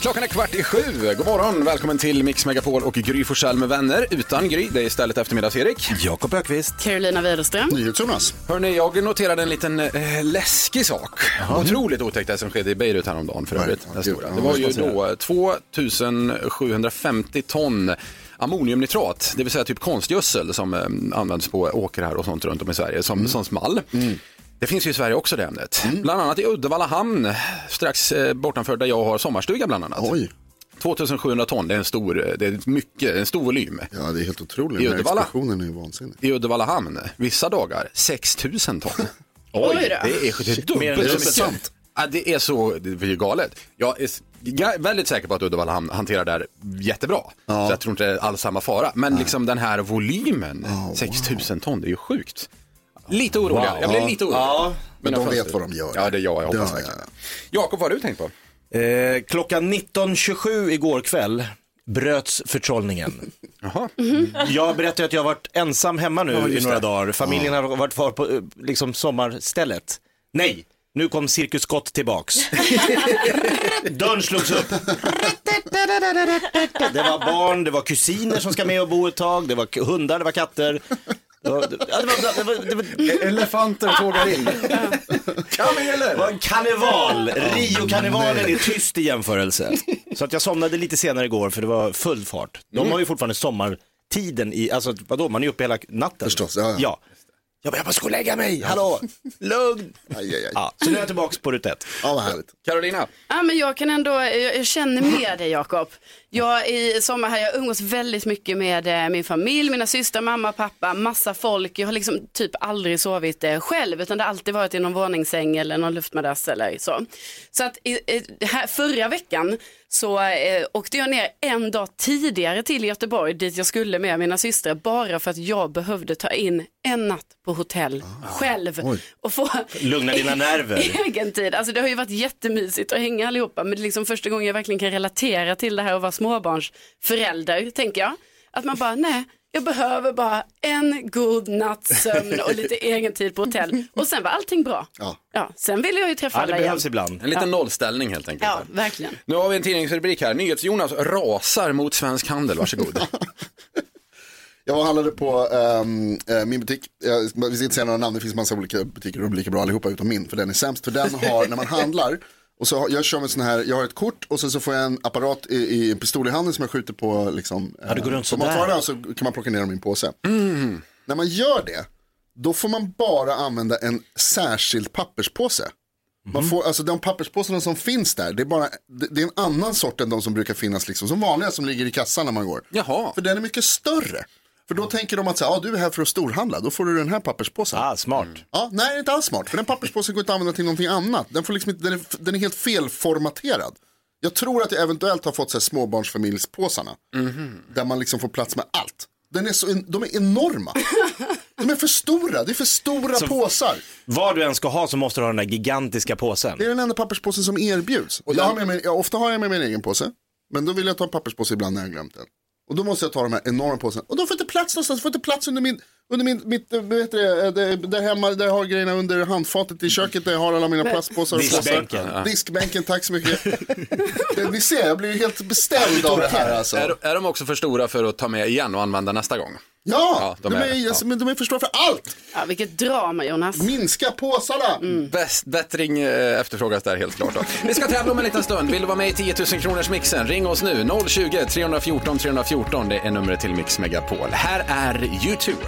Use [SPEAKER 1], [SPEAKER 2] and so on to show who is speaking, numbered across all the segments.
[SPEAKER 1] Klockan är kvart i sju. God morgon, välkommen till Mix Megapol och Gry Forssell med vänner. Utan Gry, det är istället eftermiddags-Erik.
[SPEAKER 2] Jakob Ökvist.
[SPEAKER 3] Carolina Widerström.
[SPEAKER 4] Jonas.
[SPEAKER 1] Hörni, jag noterade en liten eh, läskig sak. Otroligt otäckt det som skedde i Beirut häromdagen för övrigt. det, stora. det var ju då 2750 ton ammoniumnitrat, det vill säga typ konstgödsel som eh, används på åkrar och sånt runt om i Sverige som, som small. Det finns ju i Sverige också det ämnet. Bland annat i Uddevalla hamn, strax eh, bortanför där jag har sommarstuga bland annat.
[SPEAKER 4] Oj,
[SPEAKER 1] 2700 ton, det är en stor, det är mycket, en stor volym.
[SPEAKER 4] ja det är helt otroligt.
[SPEAKER 1] I
[SPEAKER 4] Den här
[SPEAKER 1] Uddevalla.
[SPEAKER 4] explosionen är ju vansinnig.
[SPEAKER 1] i Uddevalla hamn vissa dagar 6000 ton.
[SPEAKER 3] Oj då.
[SPEAKER 1] det är det
[SPEAKER 2] mer
[SPEAKER 1] är
[SPEAKER 2] än
[SPEAKER 1] dubbelt så
[SPEAKER 2] dubbelt.
[SPEAKER 1] mycket.
[SPEAKER 2] Sant.
[SPEAKER 1] Ja, det är så det är ju galet. Jag är s- ga- väldigt säker på att Uddevalla hamn hanterar det här jättebra. Så jag tror inte det är alls samma fara. Men liksom den här volymen, 6000 ton, det är ju sjukt. Lite orolig,
[SPEAKER 2] Wow.
[SPEAKER 1] jag blev lite orolig.
[SPEAKER 2] Ja.
[SPEAKER 4] Men
[SPEAKER 1] Mina
[SPEAKER 4] de vet
[SPEAKER 1] fönster.
[SPEAKER 4] vad de gör.
[SPEAKER 1] Ja, det är jag, jag hoppas
[SPEAKER 4] Ja, ja, ja.
[SPEAKER 1] verkligen. Jakob, vad har du tänkt på?
[SPEAKER 2] Eh, klockan 19.27 igår kväll bröts förtrollningen.
[SPEAKER 1] Jaha.
[SPEAKER 2] Jag berättade att jag har varit ensam hemma nu i några dagar. Familjen har varit kvar på eh, liksom, sommarstället. Nej, nu kom Cirkus Scott tillbaks. Dörren slogs upp. Det var barn, det var kusiner som ska med och bo ett tag, det var k- hundar, det var katter. Det var, ja, det var, det var, det var,
[SPEAKER 1] Elefanter tågar in.
[SPEAKER 2] det var en karneval. Rio-karnevalen är tyst i jämförelse. Så att jag somnade lite senare igår för det var full fart.
[SPEAKER 5] Mm.
[SPEAKER 2] De har ju fortfarande sommartiden i, alltså vadå, man är ju uppe hela natten.
[SPEAKER 4] Förstås, ja, ja.
[SPEAKER 2] ja. Jag bara, jag bara ska gå och lägga mig, hallå, lugn.
[SPEAKER 4] Aj, aj, aj.
[SPEAKER 2] Ja, så nu är jag tillbaka på rutet.
[SPEAKER 4] Ja, vad härligt.
[SPEAKER 1] Carolina,
[SPEAKER 3] Ja, men jag kan ändå, jag, jag känner med dig Jakob. Jag i sommar här, jag umgås väldigt mycket med eh, min familj, mina systrar, mamma, pappa, massa folk. Jag har liksom typ aldrig sovit eh, själv utan det har alltid varit i någon våningssäng eller någon luftmadrass eller så. Så att i, i, här, förra veckan så eh, åkte jag ner en dag tidigare till Göteborg dit jag skulle med mina systrar bara för att jag behövde ta in en natt på hotell själv
[SPEAKER 4] Oj.
[SPEAKER 3] och få
[SPEAKER 2] Lugna dina nerver.
[SPEAKER 3] egen tid. Alltså det har ju varit jättemysigt att hänga allihopa men det är liksom första gången jag verkligen kan relatera till det här att vara småbarnsförälder tänker jag. Att man bara nej, jag behöver bara en god natts sömn och lite egen tid på hotell och sen var allting bra.
[SPEAKER 4] Ja.
[SPEAKER 3] sen ville jag ju träffa
[SPEAKER 2] Ja, det
[SPEAKER 3] alla igen.
[SPEAKER 2] behövs ibland.
[SPEAKER 1] en liten nollställning helt enkelt.
[SPEAKER 3] Ja, verkligen.
[SPEAKER 1] Nu har vi en tidningsrubrik här. NyhetsJonas rasar mot svensk handel. Varsågod.
[SPEAKER 4] Jag handlade på ehm, eh, min butik, jag, vi ska inte säga några namn, det finns massa olika butiker och de är lika bra allihopa utom min, för den är sämst. För den har, när man handlar, och så har, jag kör med sån här, jag har ett kort och sen så får jag en apparat i, i en pistol i handen som jag skjuter på liksom. Ja,
[SPEAKER 2] du går runt sådär. Mm.
[SPEAKER 4] Och så kan man plocka ner dem i en påse. När man gör det, då får man bara använda en särskild papperspåse. Man
[SPEAKER 2] Mm.
[SPEAKER 4] får, alltså de papperspåsarna som finns där, det är, bara, det, det är en annan sort än de som brukar finnas liksom, som vanliga som ligger i kassan när man går.
[SPEAKER 1] Jaha.
[SPEAKER 4] För den är mycket större. För då tänker de att så här, ah, du är här för att storhandla, då får du den här papperspåsen.
[SPEAKER 2] Ah, smart.
[SPEAKER 4] Ja, nej, det är inte alls smart. För den papperspåsen går inte att använda till någonting annat. Den, får liksom, inte- den, är, den är helt felformaterad. Jag tror att jag eventuellt har fått så här småbarnsfamiljspåsarna. Där man liksom får plats med allt. Den är så, en- de är enorma. De är för stora, det är för stora påsar.
[SPEAKER 2] Vad du än ska ha så måste du ha den där gigantiska påsen.
[SPEAKER 4] Det är den enda papperspåsen som erbjuds. Och jag har med mig, ja, ofta har jag med mig en egen påse. Men då vill jag ta en papperspåse ibland när jag har glömt den. Och då måste jag ta de här enorma påsarna. Och de får inte plats någonstans. De får inte plats under min, under min, mitt, eh, vad heter det, eh, det- där hemma, där jag har grejerna under handfatet i köket där jag har alla mina plastpåsar och påsar.
[SPEAKER 2] Diskbänken.
[SPEAKER 4] Diskbänken, tack så mycket. Eh, Ni ser, jag blir ju helt beställd av det här alltså.
[SPEAKER 1] Är, är de också för stora för att ta med igen och använda nästa gång?
[SPEAKER 4] Ja,
[SPEAKER 1] de
[SPEAKER 4] de
[SPEAKER 1] är-
[SPEAKER 4] är, alltså, men de är förstörda för allt.
[SPEAKER 3] Ja, vilket drama Jonas.
[SPEAKER 4] Minska påsarna.
[SPEAKER 1] Bäst, bättring eh, efterfrågas där helt klart. Då. Vi ska tävla om en liten stund. Vill du vara med i 10 000 kronors mixen? Ring oss nu. 020 314 314. Det är numret till Mix Megapol. Här är YouTube.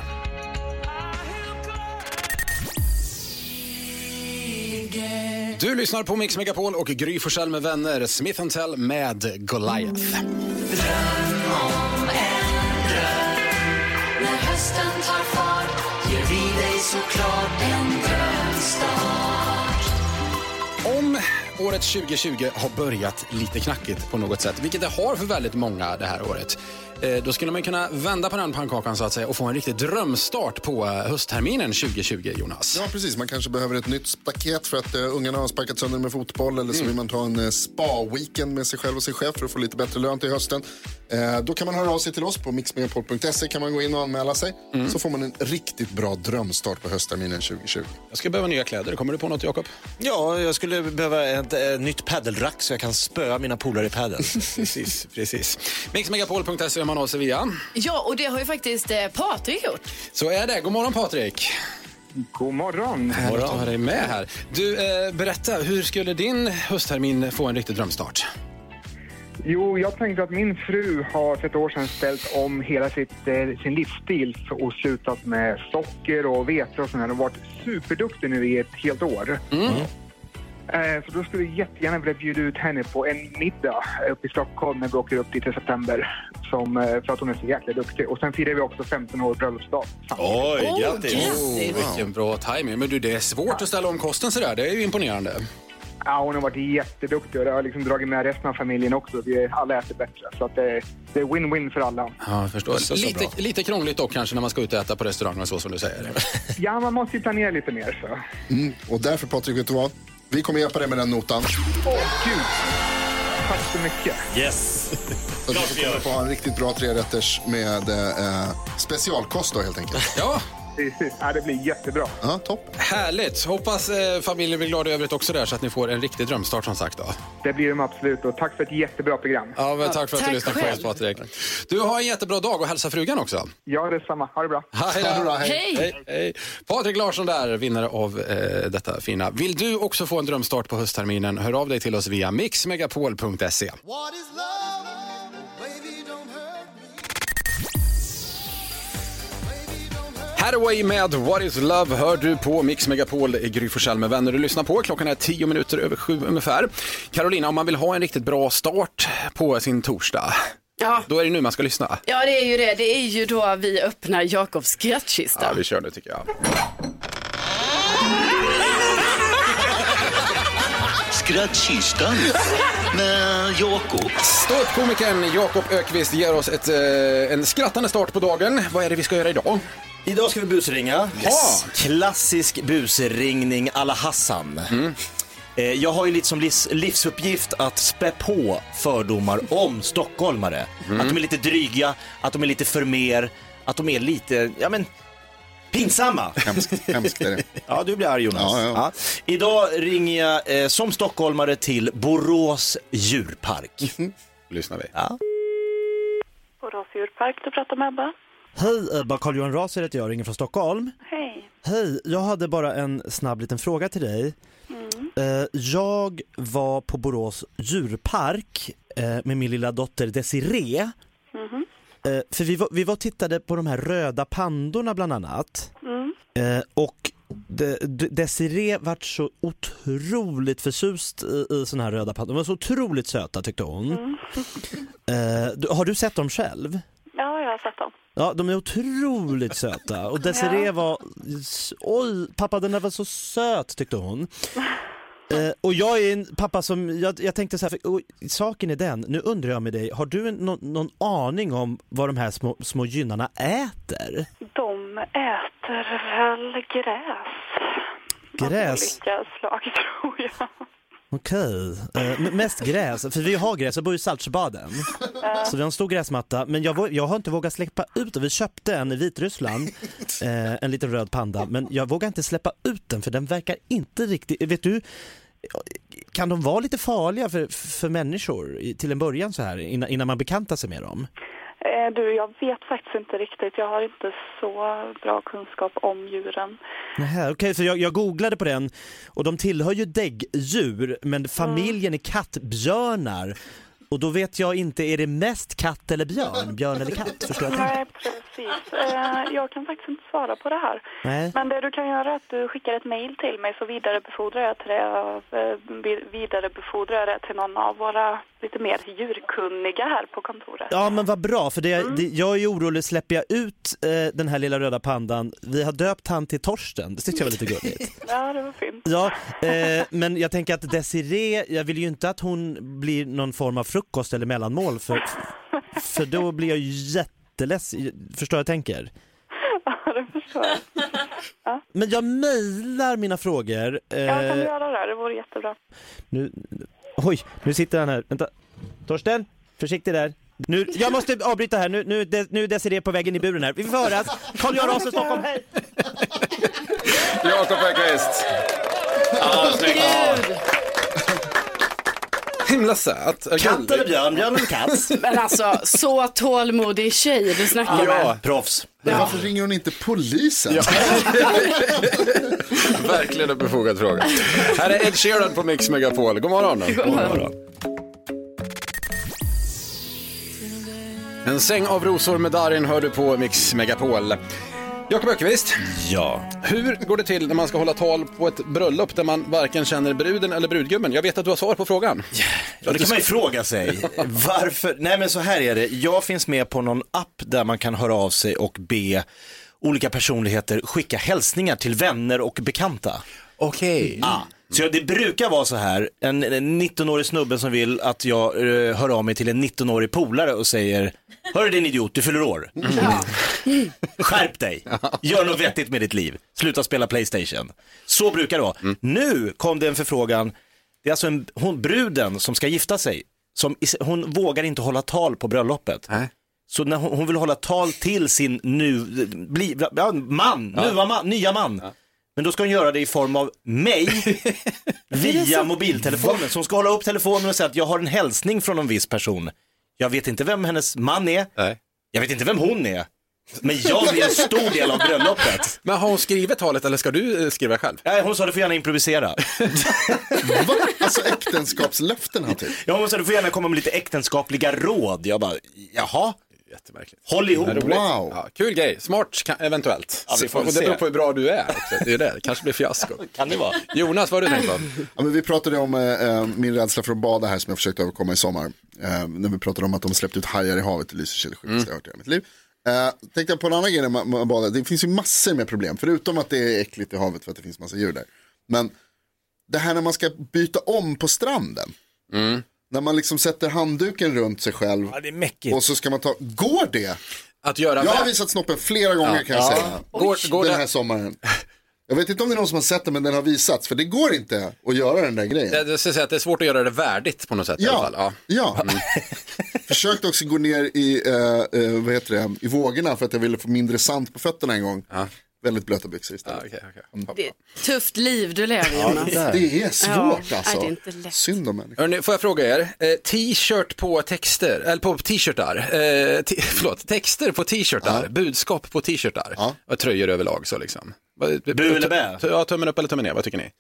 [SPEAKER 1] Du lyssnar på Mix Megapol och Gry Forssell med vänner. Smith Tell med Goliath.
[SPEAKER 6] När hösten tar fart ger vi dig såklart en drömstart.
[SPEAKER 1] Om året 2020 har börjat lite knackigt på något sätt, vilket det har för väldigt många det här året, Eh, Då skulle man kunna vända på den pannkakan så att säga och få en riktig drömstart på eh, höstterminen 2020, Jonas.
[SPEAKER 4] Ja, precis. Man kanske behöver ett nytt staket för att eh, ungarna har sparkat sönder med fotboll eller så vill man ta en eh, spa-weekend med sig själv och sin chef för att få lite bättre lön till hösten. Eh, då kan man höra av sig till oss på mixmegapol.se kan man gå in och anmäla sig. Så får man en riktigt bra drömstart på höstterminen 2020.
[SPEAKER 1] Jag ska behöva nya kläder. Kommer du på något, Jakob?
[SPEAKER 5] Ja, jag skulle behöva ett, eh, nytt padelrack så jag kan spöa mina polare i padel.
[SPEAKER 1] Precis, precis. Mixmegapol.se hör man av sig via.
[SPEAKER 3] Ja, och det har ju faktiskt eh, Patrik gjort.
[SPEAKER 1] Så är det. God morgon Patrik!
[SPEAKER 7] God morgon.
[SPEAKER 1] Härligt att ha dig med här. Du, eh, berätta, hur skulle din hösttermin få en riktig drömstart?
[SPEAKER 7] Jo, jag tänkte att min fru har för ett år sedan ställt om hela sitt, eh, sin livsstil och slutat med socker och vete och sånt här och varit superduktig nu i ett helt år. Eh, Så då skulle jag jättegärna vilja bjuda ut henne på en middag uppe i Stockholm när vi åker upp dit i september. Som, eh, för att hon är så jäkla duktig. Och sen firar vi också 15 år bröllopsdag.
[SPEAKER 5] Oj,
[SPEAKER 3] Åh, grattis.
[SPEAKER 1] Oh, vilken bra timing. Men du, det är svårt att ställa om kosten sådär. Det är ju imponerande.
[SPEAKER 7] Ja, hon har varit jätteduktig och det har liksom dragit med resten av familjen också. Vi alla äter bättre. Så att det, det är win-win för alla.
[SPEAKER 1] Ja, jag förstår.
[SPEAKER 5] så
[SPEAKER 1] lite,
[SPEAKER 5] bra.
[SPEAKER 1] lite krångligt dock kanske när man ska ut och äta på restaurang och så som du säger.
[SPEAKER 7] Ja, man måste ju planera lite mer. Så.
[SPEAKER 4] Mm. Och därför Patrik, vet du vad? Vi kommer hjälpa dig med den notan.
[SPEAKER 7] Tack så mycket.
[SPEAKER 5] Yes.
[SPEAKER 4] Så att du ska kunna få ha en riktigt bra trerätters med eh, specialkost då helt enkelt.
[SPEAKER 1] Ja,
[SPEAKER 7] Precis. Ja, det blir jättebra.
[SPEAKER 4] Ja, topp.
[SPEAKER 1] härligt. Hoppas eh, familjen blir glad i övrigt också där så att ni får en riktig drömstart som sagt. Då.
[SPEAKER 7] Det blir de absolut. Och tack för ett jättebra program.
[SPEAKER 1] Ja, men tack för att
[SPEAKER 3] tack
[SPEAKER 1] du lyssnade på
[SPEAKER 3] själv.
[SPEAKER 1] oss Patrik. Du har en jättebra dag och hälsa frugan också.
[SPEAKER 7] Ja, detsamma. Ha det bra.
[SPEAKER 1] Hej
[SPEAKER 4] Ha det bra,
[SPEAKER 1] då.
[SPEAKER 4] hej.
[SPEAKER 3] Hej!
[SPEAKER 1] Hej, hej. Patrik Larsson där, vinnare av eh, detta fina. Vill du också få en drömstart på höstterminen? Hör av dig till oss via mixmegapol.se. Hathaway med What is love hör du på Mix Megapol i Gry Forssell med vänner du lyssnar på. Klockan är tio minuter över sju ungefär. Carolina, om man vill ha en riktigt bra start på sin torsdag,
[SPEAKER 3] Ja.
[SPEAKER 1] då är det nu man ska lyssna.
[SPEAKER 3] ja, det är ju det. Det är ju då vi öppnar Jakobs skrattkista.
[SPEAKER 1] Ja, vi kör nu tycker jag.
[SPEAKER 8] Skrattkistan med Jakob.
[SPEAKER 1] Ståuppkomikern Jakob Ökvist ger oss ett, eh, en skrattande start på dagen. Vad är det vi ska göra idag?
[SPEAKER 5] Idag ska vi busringa. Ah,
[SPEAKER 1] Yes.
[SPEAKER 5] Klassisk busringning alla Hassan.
[SPEAKER 4] Mm.
[SPEAKER 5] Eh, Jag har ju lite som livs- livsuppgift att spä på fördomar om stockholmare.
[SPEAKER 4] Mm.
[SPEAKER 5] Att de är lite dryga, att de är lite förmer, att de är lite, ja men, pinsamma.
[SPEAKER 4] Hemskt, hemskt är det.
[SPEAKER 5] Ja, du blir arg Jonas.
[SPEAKER 4] Ja, ja.
[SPEAKER 5] Idag ringer jag eh, som stockholmare till Borås djurpark.
[SPEAKER 1] lyssnar vi.
[SPEAKER 9] Borås djurpark, du pratar med Ebba.
[SPEAKER 2] Hej eh, Ebba, Carl-Johan Raser heter jag, ringer från Stockholm.
[SPEAKER 9] Hej.
[SPEAKER 2] Hej, jag hade bara en snabb liten fråga till dig. Eh, Jag var på Borås djurpark eh, med min lilla dotter Desiree. Eh, För vi var, vi var och tittade på de här röda pandorna bland annat. Eh, Och De- De- Desiree vart så otroligt förtjust i, i såna här röda pandor. De var så otroligt söta tyckte hon. Eh, du- Har du sett dem själv?
[SPEAKER 9] Ja, jag har sett dem.
[SPEAKER 2] Ja, de är otroligt söta. Och Desiree var... Oj, pappa den där var så söt tyckte hon. Eh, och jag är en pappa som, jag, jag tänkte så här, för, och, saken är den, nu undrar jag med dig, har du en, någon, någon aning om vad de här små, små gynnarna äter?
[SPEAKER 9] De äter väl gräs?
[SPEAKER 2] Gräs?
[SPEAKER 9] Av olika slag, tror jag.
[SPEAKER 2] Okej, eh, m- mest gräs, för vi har gräs, jag bor i Saltsjöbaden. Så vi har en stor gräsmatta, men jag, vå- jag har inte vågat släppa ut den. Vi köpte en i Vitryssland, eh, en liten röd panda, men jag vågar inte släppa ut den för den verkar inte riktigt, vet du, kan de vara lite farliga för, för människor i- till en början så här innan, innan man bekantar sig med dem?
[SPEAKER 9] Eh, Du, jag vet faktiskt inte riktigt. Jag har inte så bra kunskap om djuren.
[SPEAKER 2] Nähä, Okej, för jag, jag googlade på den och de tillhör ju däggdjur men familjen är kattbjörnar. Och då vet jag inte, är det mest katt eller björn? Björn eller katt? Förstår jag?
[SPEAKER 9] Nej, precis. Eh, Jag kan faktiskt inte svara på det här.
[SPEAKER 2] Nej.
[SPEAKER 9] Men det du kan göra är att du skickar ett mejl till mig så vidarebefordrar jag till, det, eh, vi- vidarebefordrar jag det till någon av våra lite mer djurkunniga här på kontoret.
[SPEAKER 2] Ja men vad bra, för det, det, jag är ju orolig, släpper jag ut eh, den här lilla röda pandan, vi har döpt han till Torsten, det tyckte jag var lite gulligt.
[SPEAKER 9] Ja, det var fint.
[SPEAKER 2] Ja, eh, men jag tänker att Desiree, jag vill ju inte att hon blir någon form av frukost eller mellanmål för,
[SPEAKER 10] För då blir jag ju jätteledsen. Förstår jag tänker?
[SPEAKER 9] Ja, det förstår jag.
[SPEAKER 10] Men jag mejlar mina frågor. Eh,
[SPEAKER 9] Ja, kan du göra det? Det vore jättebra.
[SPEAKER 10] nu, oj, nu sitter han här. Vänta. Torsten, försiktig där. Nu, jag måste avbryta här. Nu, nu, De- nu är Desiree på vägen i buren här. Vi får höras. Carl-Göran Åström, Stockholm. Hej!
[SPEAKER 1] Jakob Öqvist.
[SPEAKER 2] Ja, snyggt.
[SPEAKER 1] Himla söt.
[SPEAKER 2] Katt eller björn, björn eller katt.
[SPEAKER 3] Men alltså, så tålmodig tjej du snackar med.
[SPEAKER 2] Proffs.
[SPEAKER 4] Men varför ringer hon inte polisen?
[SPEAKER 1] Verkligen en befogad fråga. Här är Ed Sheeran på Mix Megapol. God morgon. God morgon. En säng av rosor med Darin hör du på Mix Megapol. Jakob Ökvist,
[SPEAKER 2] Ja.
[SPEAKER 1] hur går det till när man ska hålla tal på ett bröllop där man varken känner bruden eller brudgummen? Jag vet att du har svar på frågan.
[SPEAKER 2] Ja, det kan man ju fråga sig. Varför? Nej men så här är det, jag finns med på någon app där man kan höra av sig och be olika personligheter skicka hälsningar till vänner och bekanta.
[SPEAKER 1] Okej.
[SPEAKER 2] Ah. Så jag- det brukar vara så här, en, en 19-årig snubbe som vill att jag eh, hör av mig till en 19-årig polare och säger Hörru din idiot, du fyller år. Skärp dig, gör något vettigt med ditt liv, sluta spela Playstation. Så brukar det vara.
[SPEAKER 1] Mm.
[SPEAKER 2] Nu kom det en förfrågan, det är alltså en, hon, bruden som ska gifta sig, som, is- hon vågar inte hålla tal på bröllopet.
[SPEAKER 1] Nej.
[SPEAKER 2] Så när hon, hon vill hålla tal till sin nu, bli, ja, man, nuva man, nya man. Men då ska hon göra det i form av mig via mobiltelefonen. Så hon ska hålla upp telefonen och säga att jag har en hälsning från en viss person. Jag vet inte vem hennes man är,
[SPEAKER 1] Nej.
[SPEAKER 2] jag vet inte vem hon är. Men jag blir en stor del av bröllopet.
[SPEAKER 1] Men har hon skrivit talet eller ska du eh, skriva själv?
[SPEAKER 2] Nej, hon sa du får gärna improvisera.
[SPEAKER 4] Va? Alltså äktenskapslöften här typ.
[SPEAKER 2] Ja, hon sa du får gärna komma med lite äktenskapliga råd. Jag bara, jaha,
[SPEAKER 1] Jättemärkligt.
[SPEAKER 2] håll ihop.
[SPEAKER 1] Men roligt.
[SPEAKER 4] Wow.
[SPEAKER 1] Ja, kul grej, smart kan, eventuellt.
[SPEAKER 2] Ja, vi får
[SPEAKER 1] och
[SPEAKER 2] väl
[SPEAKER 1] det beror
[SPEAKER 2] se.
[SPEAKER 1] på hur bra du är också. Det är det, det kanske blir fiasko.
[SPEAKER 2] Kan det vara?
[SPEAKER 1] Jonas, vad har du tänkt på?
[SPEAKER 4] Ja, men vi pratade om eh, eh, min rädsla för att bada här som jag försökte överkomma i sommar. Eh, när vi pratade om att de släppte ut hajar i havet i Lysekil, det sjukaste jag hört i hela mitt liv. Eh, tänkte jag på en annan grej när man, man badar, det finns ju massor med problem, förutom att det är äckligt i havet för att det finns massa djur där. Men det här när man ska byta om på stranden. När man liksom sätter handduken runt sig själv
[SPEAKER 10] Ja, det är mäckigt.
[SPEAKER 4] och så ska man ta, går det?
[SPEAKER 1] Att göra
[SPEAKER 4] Jag har
[SPEAKER 1] vä-
[SPEAKER 4] visat snoppen flera gånger kan jag säga.
[SPEAKER 1] Går- går
[SPEAKER 4] den
[SPEAKER 1] det-
[SPEAKER 4] här sommaren. Jag vet inte om det är någon som har sett den men den har visats. För det går inte att göra den där grejen.
[SPEAKER 1] Jag skulle säga att Eh, det är svårt att göra det värdigt på något sätt i alla
[SPEAKER 4] Ja,
[SPEAKER 1] fall.
[SPEAKER 4] ja.
[SPEAKER 1] Ja. Mm.
[SPEAKER 4] försökte också gå ner i, eh, eh, vad heter det, i vågorna för att jag ville få mindre sand på fötterna en gång. Väldigt blöta byxor
[SPEAKER 1] Ja,
[SPEAKER 4] istället.
[SPEAKER 1] okej, okej.
[SPEAKER 3] Det är ett tufft liv du lever Jonas.
[SPEAKER 4] Det är svårt
[SPEAKER 3] Ja,
[SPEAKER 4] alltså.
[SPEAKER 3] nej, det är inte lätt.
[SPEAKER 4] Synd om människor.
[SPEAKER 1] Hörrni, får jag fråga er, eh, t-shirt på texter, eller på t-shirtar, eh, t- förlåt, texter på t-shirtar, budskap på t-shirtar
[SPEAKER 4] Ja.
[SPEAKER 1] och tröjor överlag så liksom.
[SPEAKER 2] Bu eller bä?
[SPEAKER 1] Ja, tummen upp eller tummen ner, vad tycker ni?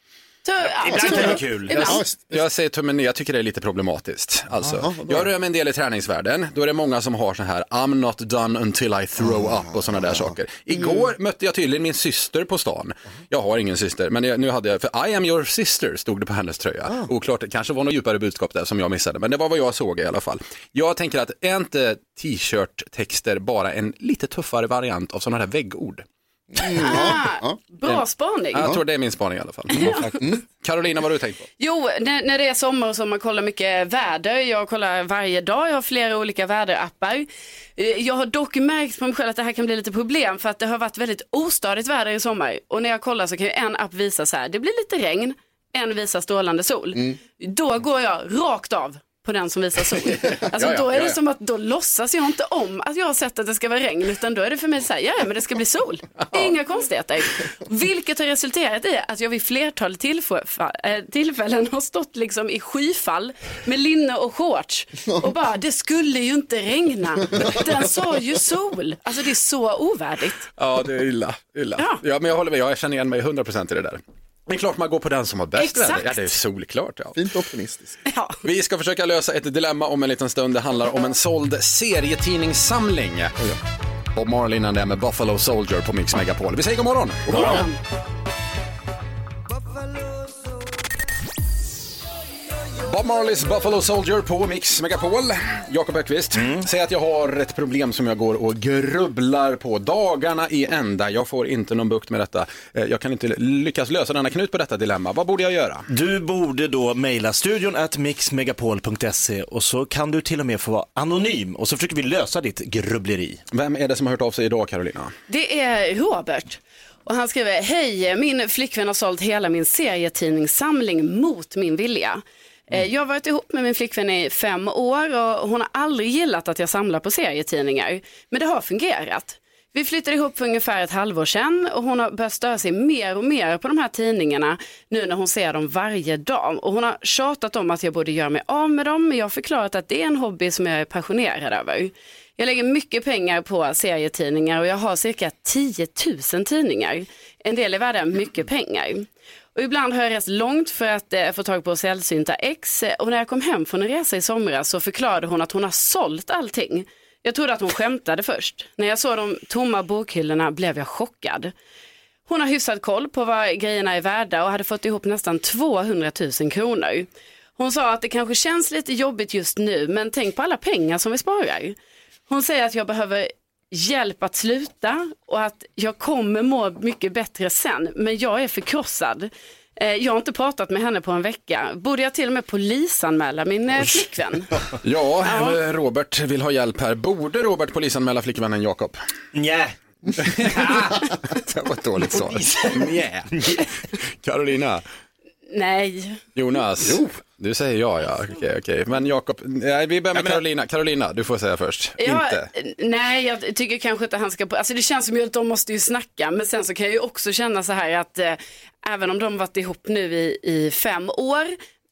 [SPEAKER 3] Tu-
[SPEAKER 2] Ibland
[SPEAKER 3] ja,
[SPEAKER 2] kan det
[SPEAKER 3] tu-
[SPEAKER 2] vara kul.
[SPEAKER 3] Ibland.
[SPEAKER 4] Alltså, Ja, visst.
[SPEAKER 1] Jag säger tummen ner, jag tycker det är lite problematiskt. Alltså,
[SPEAKER 4] Jaha, vad bra.
[SPEAKER 1] jag rör mig en del i träningsvärlden, då är det många som har så här I'm not done until I throw up och sådana där saker. Igår mötte jag tydligen min syster på stan. Jag har ingen syster, men jag, nu hade jag, för I am your sister stod det på hennes tröja. Oklart, det kanske var något djupare budskap där som jag missade, men det var vad jag såg i alla fall. Jag tänker att är inte t-shirt-texter bara en lite tuffare variant av sådana där väggord?
[SPEAKER 3] ah, Bra spaning.
[SPEAKER 1] Jag tror det är min spaning i alla fall. Carolina, vad har du tänkt på?
[SPEAKER 3] Jo, när, när det är sommar och så man kollar mycket väder. Jag kollar varje dag, jag har flera olika väderappar. Eh, Jag har dock märkt på mig själv att det här kan bli lite problem för att det har varit väldigt ostadigt väder i sommar. Och när jag kollar så kan ju en app visa så här, det blir lite regn, en visar strålande sol.
[SPEAKER 1] Mm.
[SPEAKER 3] Då går jag rakt av på den som visar sol. Alltså
[SPEAKER 1] Ja, ja,
[SPEAKER 3] då är
[SPEAKER 1] ja,
[SPEAKER 3] det
[SPEAKER 1] ja.
[SPEAKER 3] som att då låtsas jag inte om att jag har sett att det ska vara regn utan då är det för mig så här, ja ja, men det ska bli sol. Det är inga konstigheter. Vilket har resulterat i att jag vid flertal tillfå- äh, tillfällen har stått liksom i skyfall med linne och shorts och bara det skulle ju inte regna. Den sa ju sol. Alltså det är så ovärdigt.
[SPEAKER 1] Ja, det är illa. illa. Ja.
[SPEAKER 3] Ja.
[SPEAKER 1] men jag håller med. Jag känner igen mig 100% i det där. Det är klart man går på den som har bäst
[SPEAKER 3] Exakt.
[SPEAKER 1] väder. Ja, det är solklart. Ja.
[SPEAKER 4] Fint optimistiskt.
[SPEAKER 3] Ja.
[SPEAKER 1] Vi ska försöka lösa ett dilemma om en liten stund. Det handlar om en såld serietidningssamling. Bob Marley innan det med Buffalo Soldier på Mix Megapol. Vi säger god morgon. God morgon. Bob Marleys Buffalo Soldier på Mix Megapol. Jakob Ökvist, säg att jag har ett problem som jag går och grubblar på dagarna i ända. Jag får inte någon bukt med detta. Eh, Jag kan inte lyckas lösa denna knut på detta dilemma. Vad borde jag göra?
[SPEAKER 2] Du borde då mejla studion at mixmegapol.se och så kan du till och med få vara anonym och så försöker vi lösa ditt grubbleri.
[SPEAKER 1] Vem är det som har hört av sig idag Carolina?
[SPEAKER 3] Det är Robert. Och han skriver, hej, min flickvän har sålt hela min serietidningssamling mot min vilja. Eh, Jag har varit ihop med min flickvän i fem år och hon har aldrig gillat att jag samlar på serietidningar. Men det har fungerat. Vi flyttade ihop för ungefär ett halvår sedan och hon har börjat störa sig mer och mer på de här tidningarna nu när hon ser dem varje dag. Och hon har tjatat om att jag borde göra mig av med dem men jag har förklarat att det är en hobby som jag är passionerad över. Jag lägger mycket pengar på serietidningar och jag har cirka 10 000 tidningar. En del är värda mycket pengar. Och ibland har jag rest långt för att eh, få tag på sällsynta ex eh, och när jag kom hem från en resa i somras så förklarade hon att hon har sålt allting. Jag trodde att hon skämtade först. När jag såg de tomma bokhyllorna blev jag chockad. Hon har hyfsat koll på vad grejerna är värda och hade fått ihop nästan 200 000 kronor. Hon sa att det kanske känns lite jobbigt just nu men tänk på alla pengar som vi sparar. Hon säger att jag behöver hjälp att sluta och att jag kommer må mycket bättre sen men jag är förkrossad. Eh, Jag har inte pratat med henne på en vecka. Borde jag till och med polisanmäla min eh, flickvän?
[SPEAKER 1] Ja, eh, Robert vill ha hjälp här. Borde Robert polisanmäla flickvännen Jakob?
[SPEAKER 2] Nja.
[SPEAKER 1] det var ett dåligt svar.
[SPEAKER 2] Nja.
[SPEAKER 1] Carolina,
[SPEAKER 3] Nej.
[SPEAKER 1] Jonas. Du säger ja, ja. Okej, okej. Men Jakob, nej, vi börjar med Carolina. Carolina, du får säga först.
[SPEAKER 3] Jag-
[SPEAKER 1] Inte.
[SPEAKER 3] Nej, jag tycker kanske inte han ska... på- Alltså det känns som att de måste ju snacka, men sen så kan jag ju också känna så här att eh, även om de varit ihop nu i, i fem år,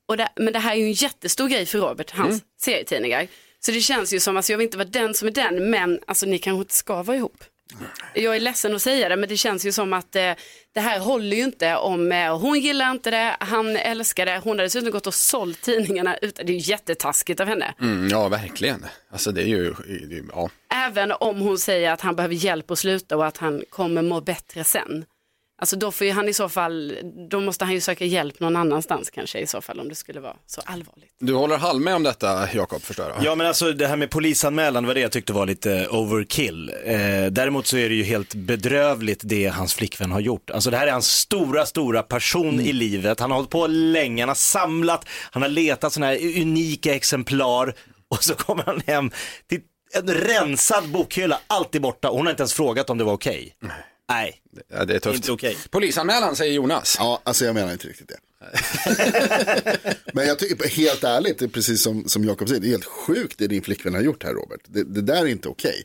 [SPEAKER 3] och det, men det här är ju en jättestor grej för Robert, hans serietidningar. Så det känns ju som, alltså jag vill inte vara den som är den, men alltså ni kanske inte ska vara ihop. Jag är ledsen att säga det, men det känns ju som att eh, det här håller ju inte om eh, hon gillar inte det, han älskar det, hon har dessutom gått och sålt tidningarna, utan, det är ju jättetaskigt av henne.
[SPEAKER 1] Mm, ja, verkligen. Alltså det är ju, det är- ja.
[SPEAKER 3] Även om hon säger att han behöver hjälp att sluta och att han kommer må bättre sen. Alltså då får ju han i så fall, då måste han ju söka hjälp någon annanstans kanske i så fall om det skulle vara så allvarligt.
[SPEAKER 1] Du håller halv med om detta, Jakob, förstår jag.
[SPEAKER 2] Ja men alltså det här med polisanmälan det var det jag tyckte var lite overkill. Eh, däremot så är det ju helt bedrövligt det hans flickvän har gjort. Alltså det här är hans stora, stora passion i
[SPEAKER 4] Mm.
[SPEAKER 2] livet. Han har hållit på länge, han har samlat, han har letat sådana här unika exemplar och så kommer han hem till en rensad bokhylla, allt är borta och hon har inte ens frågat om det var okej. Nej.
[SPEAKER 1] Ja, det är tufft.
[SPEAKER 2] Inte okej.
[SPEAKER 1] Polisanmälan säger Jonas.
[SPEAKER 4] Ja, alltså jag menar inte riktigt det. Men jag tycker, helt ärligt, det är precis som, som Jakob säger, det är helt sjukt det din flickvän har gjort här Robert. Det, det där är inte okej.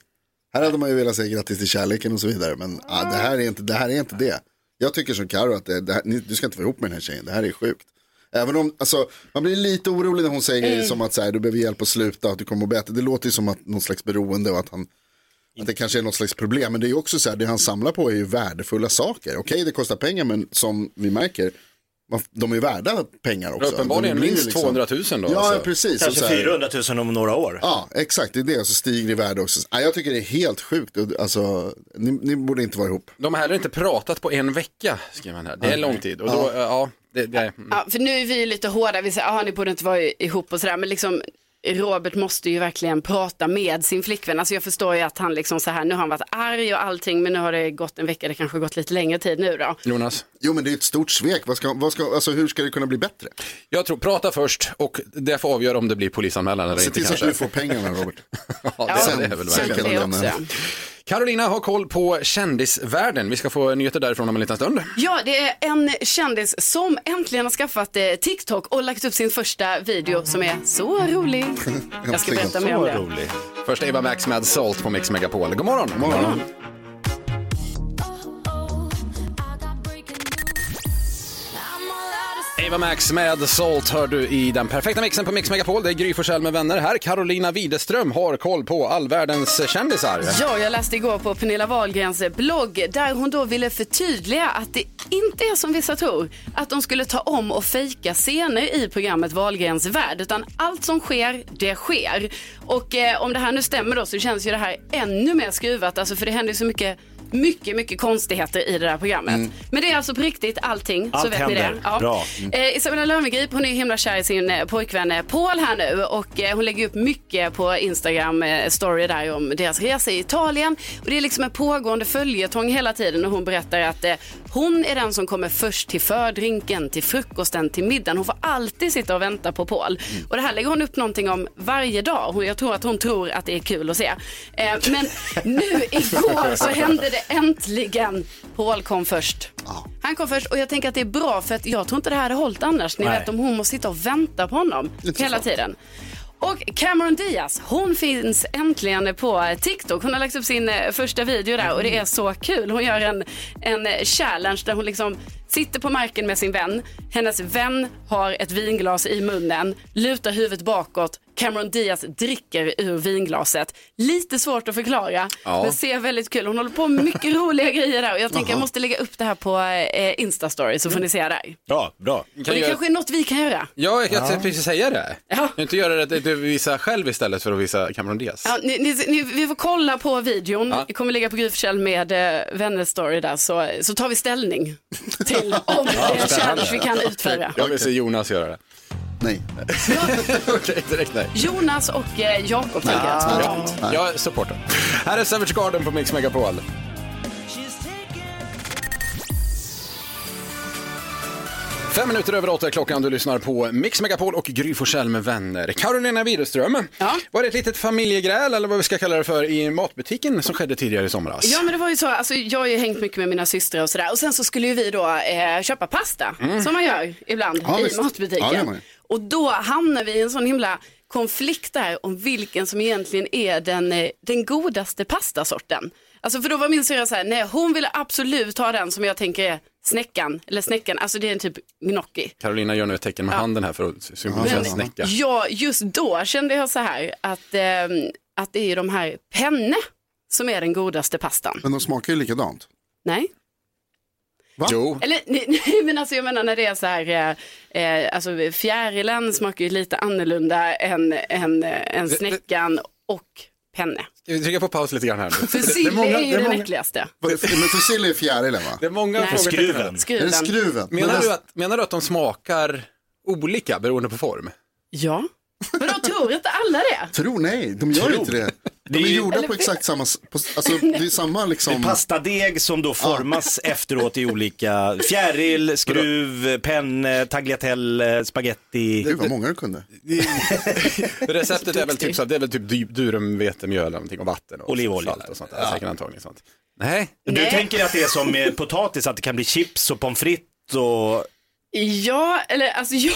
[SPEAKER 4] Här hade man ju velat säga grattis till kärleken och så vidare, men ah, det, här är inte, det här är inte det. Jag tycker som Karo att det, det här, ni, du ska inte vara ihop med den här tjejen, det här är sjukt. Även om, alltså, man blir lite orolig när hon säger grejer som att så här, du behöver hjälp att sluta, att du kommer att må bättre. Det låter ju som att någon slags beroende och att han att det kanske är något slags problem, men det är ju också så här, det han samlar på är ju värdefulla saker. Okej, det kostar pengar, men som vi märker, man- de är ju värda pengar också.
[SPEAKER 1] Uppenbarligen
[SPEAKER 4] De blir ju liksom-
[SPEAKER 1] minst 200 000 då.
[SPEAKER 4] Ja,
[SPEAKER 1] alltså.
[SPEAKER 4] precis. Och
[SPEAKER 2] Kanske
[SPEAKER 4] så här-
[SPEAKER 2] 400 000 om några år.
[SPEAKER 4] Ja, exakt, det är det. Och så stiger det i värde också. Nej, jag tycker det är helt sjukt. Och, Alltså, ni, ni borde inte vara ihop.
[SPEAKER 1] De har heller inte pratat på en vecka, skriver han här. Det är lång tid. Och då, eh, ja, det, det,
[SPEAKER 3] Ja, för nu är vi ju lite hårda, vi säger att ni borde inte vara ihop och sådär, men liksom Robert måste ju verkligen prata med sin flickvän. Alltså jag förstår ju att han liksom så här, nu har han varit arg och allting, men nu har det gått en vecka, det kanske har gått lite längre tid nu då.
[SPEAKER 1] Jonas.
[SPEAKER 4] Jo, men det är ett stort svek. Vad ska, vad ska, alltså, hur ska det kunna bli bättre?
[SPEAKER 1] Jag tror, prata först och det får avgöra om det blir polisanmälan eller
[SPEAKER 4] Se
[SPEAKER 1] inte
[SPEAKER 4] till så att
[SPEAKER 1] kanske.
[SPEAKER 4] du får pengarna, Robert.
[SPEAKER 1] Ja, det,
[SPEAKER 3] Ja,
[SPEAKER 1] det är väl
[SPEAKER 3] så
[SPEAKER 1] verkligen.
[SPEAKER 4] kan
[SPEAKER 3] det
[SPEAKER 4] man
[SPEAKER 3] också.
[SPEAKER 4] lämna.
[SPEAKER 1] Carolina har koll på kändisvärlden. Vi ska få nyheter därifrån om en liten stund.
[SPEAKER 3] Ja, det är en kändis som äntligen har skaffat eh, TikTok och lagt upp sin första video som är så rolig. Jag ska berätta mer om det.
[SPEAKER 1] Först Eva Max med Salt på Mix Megapol. God morgon. Mm. God morgon. Eva Max med Salt hör du i den perfekta mixen på Mix Megapol. Det är Gry Forssell med vänner här. Carolina Widerström har koll på all världens kändisar.
[SPEAKER 3] Ja, jag läste igår på Pernilla Wahlgrens blogg där hon då ville förtydliga att det inte är som vissa tror att de skulle ta om och fejka scener i programmet Wahlgrens värld utan allt som sker, det sker. Och eh, om det här nu stämmer då så känns ju det här ännu mer skruvat, alltså för det händer ju så mycket mycket, mycket konstigheter i det där programmet. Men det är alltså på riktigt allting, så
[SPEAKER 2] Allt
[SPEAKER 3] vet ni
[SPEAKER 2] händer.
[SPEAKER 3] det. Ja.
[SPEAKER 2] Bra.
[SPEAKER 3] Eh, Isabella Löwengrip, hon är ju himla kär i sin eh, pojkvän eh, Paul här nu och eh, hon lägger upp mycket på Instagram eh, story där om deras resa i Italien. Och det är liksom en pågående följetong hela tiden och hon berättar att eh, hon är den som kommer först till fördrinken, till frukosten, till middagen. Hon får alltid sitta och vänta på Paul. Och det här lägger hon upp någonting om varje dag. Hon, jag tror att hon tror att det är kul att se. Eh, men nu igår så hände det äntligen. Paul kom först. Han kom först och jag tänker att det är bra för att jag tror inte det här hade hållit annars. Ni
[SPEAKER 6] Nej.
[SPEAKER 3] vet om hon måste sitta och vänta på honom hela tiden. Och Cameron Diaz, hon finns äntligen på TikTok. Hon har lagt upp sin eh, första video där och det är så kul. Hon gör en, en eh, challenge där hon liksom sitter på marken med sin vän. Hennes vän har ett vinglas i munnen, lutar huvudet bakåt. Cameron Diaz dricker ur vinglaset. Lite svårt att förklara,
[SPEAKER 6] Ja.
[SPEAKER 3] men ser väldigt kul. Hon håller på med mycket roliga grejer där och jag tänker jag måste lägga upp det här på eh, Instastory så får ni se där.
[SPEAKER 2] Bra, bra.
[SPEAKER 3] och det kanske är något vi kan göra.
[SPEAKER 1] Ja, jag tänkte
[SPEAKER 3] Ja.
[SPEAKER 1] precis säga det. Kan du inte göra det att du visar själv istället för att visa Cameron Diaz?
[SPEAKER 3] Ja, ni, ni, ni, vi får kolla på videon. Vi kommer lägga på Gryfskäll med eh, vänner story där så, så tar vi ställning till om det är en challenge vi kan utföra.
[SPEAKER 1] Jag vill se Jonas göra det.
[SPEAKER 4] Nej.
[SPEAKER 1] Okej, direkt nej.
[SPEAKER 3] Jonas och eh, Jakob tänker jag
[SPEAKER 1] Ja,
[SPEAKER 3] spontant.
[SPEAKER 1] jag supportar. Här är Savage Garden på Mix Megapol. Fem minuter över åtta är klockan, du lyssnar på Mix Megapol och Gry Forssell med vänner. Carolina Widerström, var det ett litet familjegräl eller vad vi ska kalla det för i matbutiken som skedde tidigare i somras?
[SPEAKER 3] Ja men det var ju så, alltså, jag har ju hängt mycket med mina systrar och sådär och sen så skulle ju vi då eh, köpa pasta
[SPEAKER 6] Mm.
[SPEAKER 3] som man gör ibland
[SPEAKER 6] Ja,
[SPEAKER 3] i
[SPEAKER 6] visst.
[SPEAKER 3] matbutiken.
[SPEAKER 6] Ja, det gör man ju.
[SPEAKER 3] och då hamnar vi i en sån himla konflikt där om vilken som egentligen är den, eh, den godaste pastasorten. Alltså för då var min syrra så här, nej hon ville absolut ha den som jag tänker är snäckan, eller snäckan, alltså det är en typ gnocchi.
[SPEAKER 1] Carolina gör nu ett tecken med
[SPEAKER 3] Ja.
[SPEAKER 1] handen här för att symbolisera snäcka.
[SPEAKER 3] Ja, just då kände jag så här att, eh, att det är ju de här penne som är den godaste pastan.
[SPEAKER 4] Men de smakar ju likadant.
[SPEAKER 3] Nej.
[SPEAKER 4] Va? Jo.
[SPEAKER 3] Eller nej, nej, men alltså jag menar när det är så här, eh, eh, alltså fjärilen smakar ju lite annorlunda än, än, eh, än
[SPEAKER 1] Det- det-
[SPEAKER 3] snäckan och penne.
[SPEAKER 1] Ska vi trycka på paus lite grann här nu?
[SPEAKER 3] För sill är, ju den äckligaste.
[SPEAKER 4] Men fusilli är fjärilen va?
[SPEAKER 1] Det är många
[SPEAKER 3] Nej.
[SPEAKER 1] frågetecken här.
[SPEAKER 3] Skruven. Skruven. Är det skruven?
[SPEAKER 1] Menar,
[SPEAKER 3] Men
[SPEAKER 1] du
[SPEAKER 3] det-
[SPEAKER 1] att, menar du att de smakar olika beroende på form?
[SPEAKER 3] Ja. Men de tror inte alla det.
[SPEAKER 4] Tror nej, de gör
[SPEAKER 3] Tror.
[SPEAKER 4] inte det. De
[SPEAKER 3] Det är
[SPEAKER 4] är
[SPEAKER 3] ju-
[SPEAKER 4] gjorda
[SPEAKER 3] Eller
[SPEAKER 4] på
[SPEAKER 3] vet-
[SPEAKER 4] exakt samma, s- på, alltså det är samma
[SPEAKER 2] Det är
[SPEAKER 4] liksom.
[SPEAKER 2] pastadeg som då formas efteråt i olika fjäril, skruv, penne, tagliatelle, spaghetti.
[SPEAKER 4] Det var många du kunde.
[SPEAKER 1] Receptet är väl typ, så här, det är väl typ dy- durum, vetemjöl eller någonting och vatten och olivolja och sånt där. Säkert antagligen sånt. Nej.
[SPEAKER 2] Du tänker att det är som med potatis, att det kan bli chips och pommes frites och...
[SPEAKER 3] Ja, eller alltså jag...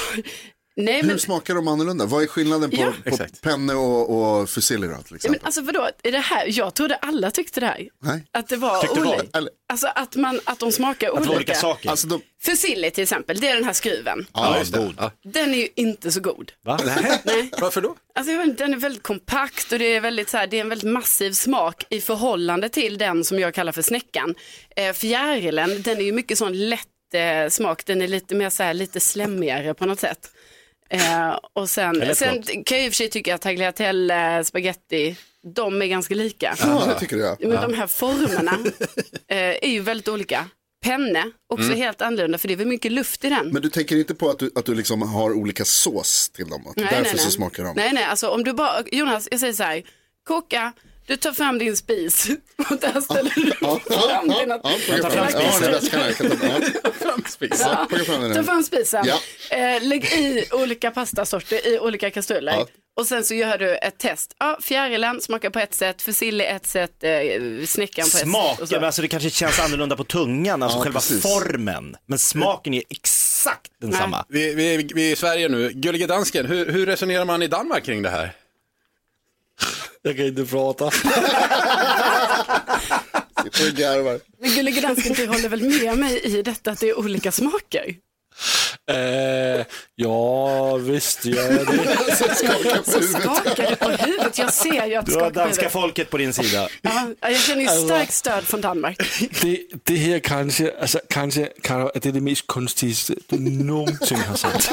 [SPEAKER 3] Nej, men
[SPEAKER 4] Hur smakar de annorlunda? Vad är skillnaden på,
[SPEAKER 3] Ja.
[SPEAKER 4] på penne och, och fusilli då till
[SPEAKER 3] Ja,
[SPEAKER 4] exempel?
[SPEAKER 3] men alltså vadå, är det här, jag trodde alla tyckte det här.
[SPEAKER 4] Nej.
[SPEAKER 3] Att det var
[SPEAKER 4] Tyckte
[SPEAKER 3] olika.
[SPEAKER 4] vad? Eller-
[SPEAKER 3] Alltså att, man, att de smakar olika.
[SPEAKER 4] Alltså de...
[SPEAKER 3] Fusilli till exempel, det är den här skruven.
[SPEAKER 1] Ja, just det. Ja.
[SPEAKER 3] Den är ju inte så god.
[SPEAKER 1] Va? Nej. Varför då?
[SPEAKER 3] Alltså, jag vet inte, den är väldigt kompakt och det är, väldigt, så här, det är en väldigt massiv smak i förhållande till den som jag kallar för snäckan. Eh, fjärilen, den är ju mycket sån lätt eh, smak, den är lite mer så här, lite slemmigare på något sätt. Eh, och
[SPEAKER 6] Eller
[SPEAKER 3] sen, sen
[SPEAKER 6] gott.
[SPEAKER 3] kan jag i och för sig tycka att tagliatelle, eh, spaghetti, de är ganska lika.
[SPEAKER 6] Ja, det tycker jag.
[SPEAKER 3] Men
[SPEAKER 6] Ja.
[SPEAKER 3] de här formerna eh, är ju väldigt olika. Penne, också
[SPEAKER 4] Mm.
[SPEAKER 3] helt annorlunda för det är väl mycket luft i den.
[SPEAKER 4] Men du tänker inte på att du, att du liksom har olika sås till dem? Att
[SPEAKER 3] Nej,
[SPEAKER 4] därför
[SPEAKER 3] nej, nej.
[SPEAKER 4] så smakar de?
[SPEAKER 3] Nej, nej, alltså om du bara, Jonas, jag säger så här, koka, du tar fram din spis och där ställer du fram dina...
[SPEAKER 4] Jag tar fram spisen. Ja, det är väskan här. Jag kan ta fram- Ja,
[SPEAKER 3] Ja,
[SPEAKER 4] plocka fram den
[SPEAKER 3] Ta
[SPEAKER 4] nu.
[SPEAKER 3] fram spisen,
[SPEAKER 4] Ja.
[SPEAKER 3] eh, lägg i olika pastasorter i olika kastruller. Och sen så gör du ett test. Ja, fjärilen smakar på ett sätt, fusilli ett sätt, eh, snäckan på ett sätt.
[SPEAKER 2] Smaken,
[SPEAKER 3] och så.
[SPEAKER 2] men alltså det kanske känns annorlunda på tungan, alltså
[SPEAKER 1] Ja,
[SPEAKER 2] själva
[SPEAKER 1] precis.
[SPEAKER 2] formen. Men smaken är exakt densamma.
[SPEAKER 1] Vi, vi, vi är i Sverige nu. Gullige dansken, hur, hur resonerar man i Danmark kring det här?
[SPEAKER 10] Jag kan inte prata.
[SPEAKER 4] Sitter och garvar.
[SPEAKER 3] Men gullige dansken, du håller väl med mig i detta att det är olika smaker?
[SPEAKER 10] Eh, ja, visst gör jag det.
[SPEAKER 3] Så skakar du på huvudet, jag ser ju att
[SPEAKER 10] Du
[SPEAKER 3] skakar
[SPEAKER 10] har
[SPEAKER 3] på huvudet.
[SPEAKER 10] danska folket på din sida.
[SPEAKER 3] Ja, jag känner ju
[SPEAKER 10] Alltså-
[SPEAKER 3] starkt stöd från Danmark.
[SPEAKER 10] Det, det her kanske, altså kanske, Karo, er det det mest kunstigaste du någonsin har sagt.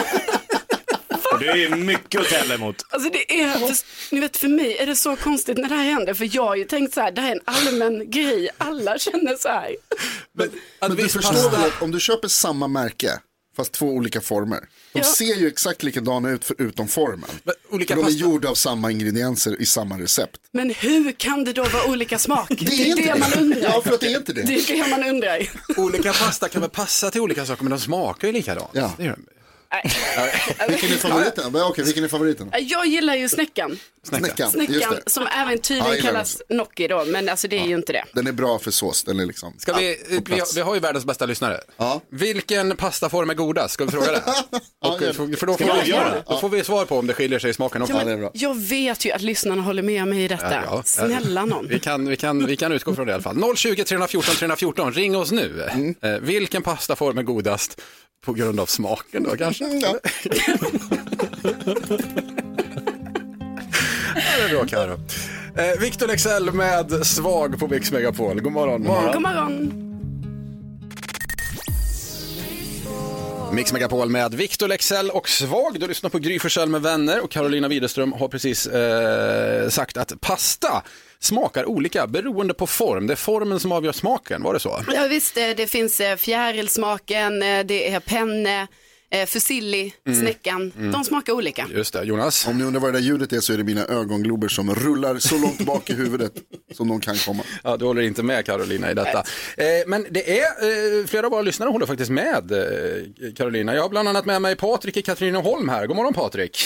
[SPEAKER 2] Och Du är ju mycket att tälla emot.
[SPEAKER 3] Alltså det är, ni vet för mig är det så konstigt när det här händer för jag har ju tänkt så här, det här är en allmän grej, alla känner så här.
[SPEAKER 4] Men du förstår väl att om du köper samma märke, fast två olika former. De
[SPEAKER 3] Ja.
[SPEAKER 4] ser ju exakt likadana ut förutom formen.
[SPEAKER 1] olika
[SPEAKER 4] För de är
[SPEAKER 1] pasta-
[SPEAKER 4] gjorda av samma ingredienser i samma recept.
[SPEAKER 3] Men hur kan det då vara olika smak? Det är det,
[SPEAKER 4] inte det.
[SPEAKER 3] man undrar.
[SPEAKER 4] Ja, för att det är inte det.
[SPEAKER 3] Det är det man undrar.
[SPEAKER 1] Olika pasta kan väl passa till olika saker men de smakar ju likadant.
[SPEAKER 4] Ja.
[SPEAKER 1] Det gör de.
[SPEAKER 4] Vilken är favoriten? Ja, Okej, vilken är favoriten?
[SPEAKER 3] Jag gillar ju snäckan.
[SPEAKER 4] Snäckan. Just
[SPEAKER 3] Snäckan
[SPEAKER 4] det.
[SPEAKER 3] som även
[SPEAKER 4] Ja,
[SPEAKER 3] tydligen
[SPEAKER 4] jag gillar
[SPEAKER 3] kallas Nocki då, men alltså det är ju inte det.
[SPEAKER 4] Den är bra för sås. Den är liksom
[SPEAKER 1] Ska vi,
[SPEAKER 4] på
[SPEAKER 1] vi,
[SPEAKER 4] plats.
[SPEAKER 1] vi har ju världens bästa lyssnare. Vilken pastaform är godast? Ska vi fråga det? Och,
[SPEAKER 4] gör det.
[SPEAKER 1] för för då,
[SPEAKER 4] Ska
[SPEAKER 1] får
[SPEAKER 4] vi
[SPEAKER 1] vi
[SPEAKER 4] avgöra
[SPEAKER 1] svar,
[SPEAKER 4] det?
[SPEAKER 1] då får vi svar på om det skiljer sig i smaken också.
[SPEAKER 3] Ja, men jag vet ju att lyssnarna håller med mig i detta.
[SPEAKER 1] Ja, ja.
[SPEAKER 3] Snälla någon.
[SPEAKER 1] Vi kan, vi, kan, vi kan utgå från det i alla fall. 020 314 314, ring oss nu. Eh, vilken pastaform är godast på grund av smaken då kanske?
[SPEAKER 4] Ja.
[SPEAKER 1] det är bra Karo. Eh, Victor Lexell med Svag på Mix Megapol. God morgon.
[SPEAKER 3] God morgon.
[SPEAKER 1] Mix Megapol med Victor Lexell och Svag. Du lyssnar på Gry Forssell med vänner och Carolina Widerström har precis eh, sagt att pasta smakar olika beroende på form. Det är formen som avgör smaken, var det så?
[SPEAKER 3] Ja visst, eh, det finns eh, fjärilsmaken, eh, det är penne, eh, fusilli,
[SPEAKER 4] Mm.
[SPEAKER 3] snäckan. De smakar olika.
[SPEAKER 1] Just det, Jonas.
[SPEAKER 4] Om ni undrar vad det där ljudet är så är det mina ögonglober som rullar så långt bak i huvudet som de kan komma.
[SPEAKER 1] Ja, du håller inte med Carolina i detta. Eh, men det är, eh, flera av våra lyssnare håller faktiskt med eh, Carolina. Jag har bland annat med mig Patrik i Katrineholm här. God morgon Patrik.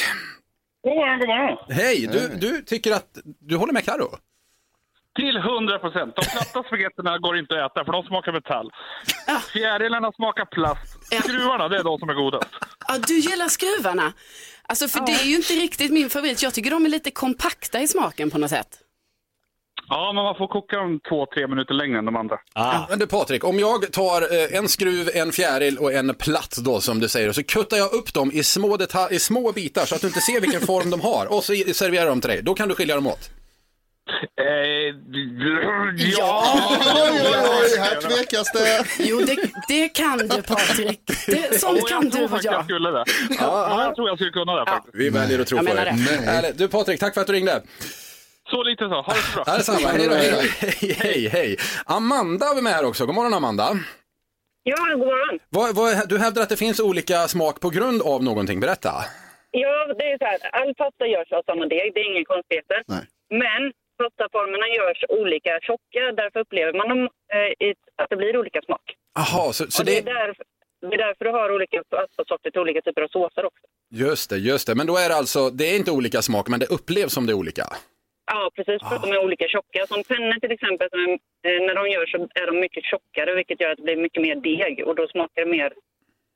[SPEAKER 11] God morgon, god morgon.
[SPEAKER 1] Hej, du, du tycker att du håller med Karo?
[SPEAKER 11] Till 100 procent. De platta spagetterna går inte att äta för de smakar metall. Fjärilarna smakar plast. Skruvarna, det är de som är godast.
[SPEAKER 3] Ja, du gillar skruvarna. Alltså för det är ju inte riktigt min favorit. Jag tycker de är lite kompakta i smaken på något sätt.
[SPEAKER 11] Ja, men man får koka dem två, tre minuter längre än de andra.
[SPEAKER 2] Ah.
[SPEAKER 1] Men du Patrik, om jag tar eh, en skruv, en fjäril och en platt då som du säger och så kuttar jag upp dem i små, deta- i små bitar så att du inte ser vilken form de har och så i- serverar jag dem till dig. Då kan du skilja dem åt.
[SPEAKER 11] Eh,
[SPEAKER 3] Ja.
[SPEAKER 4] Oj, oj, oj, här tvekas det.
[SPEAKER 3] Jo, det, det kan du Patrik. Det,
[SPEAKER 11] Jo,
[SPEAKER 3] sånt
[SPEAKER 11] jag
[SPEAKER 3] kan du
[SPEAKER 11] tror
[SPEAKER 3] och
[SPEAKER 11] faktiskt jag
[SPEAKER 3] jag.
[SPEAKER 11] skulle det. Ja, jag tror jag skulle kunna det faktiskt.
[SPEAKER 1] Vi väljer att tro
[SPEAKER 3] Jag
[SPEAKER 1] på
[SPEAKER 3] menar
[SPEAKER 1] dig.
[SPEAKER 3] det.
[SPEAKER 1] Härligt. Du Patrik, tack för att du ringde.
[SPEAKER 11] Så lite så. Ha det så
[SPEAKER 1] Ja,
[SPEAKER 11] bra.
[SPEAKER 1] detsamma. Hej då, hej då. Hej, hej, hej. Amanda är med här också. God morgon Amanda.
[SPEAKER 12] Ja, god morgon.
[SPEAKER 1] Vad, vad, du hävdar att det finns olika smak på grund av någonting. Berätta.
[SPEAKER 12] Ja, det är så här. All pasta görs av samma deg, det är ingen konstigheter.
[SPEAKER 4] Nej.
[SPEAKER 12] Men pastaformerna görs olika tjocka, därför upplever man dem, eh, i, att det blir olika smak.
[SPEAKER 1] Jaha, så, så
[SPEAKER 12] Och det,
[SPEAKER 1] det...
[SPEAKER 12] är därför, det är därför du har olika pastasorter till olika typer av såser också.
[SPEAKER 1] Just det, just det. Men då är det alltså, det är inte olika smak, men det upplevs som det är olika.
[SPEAKER 12] Ja, precis, för att de är olika tjocka. Som pennor till exempel, som, eh, när de görs så är de mycket tjockare, vilket gör att det blir mycket mer deg och då smakar det mer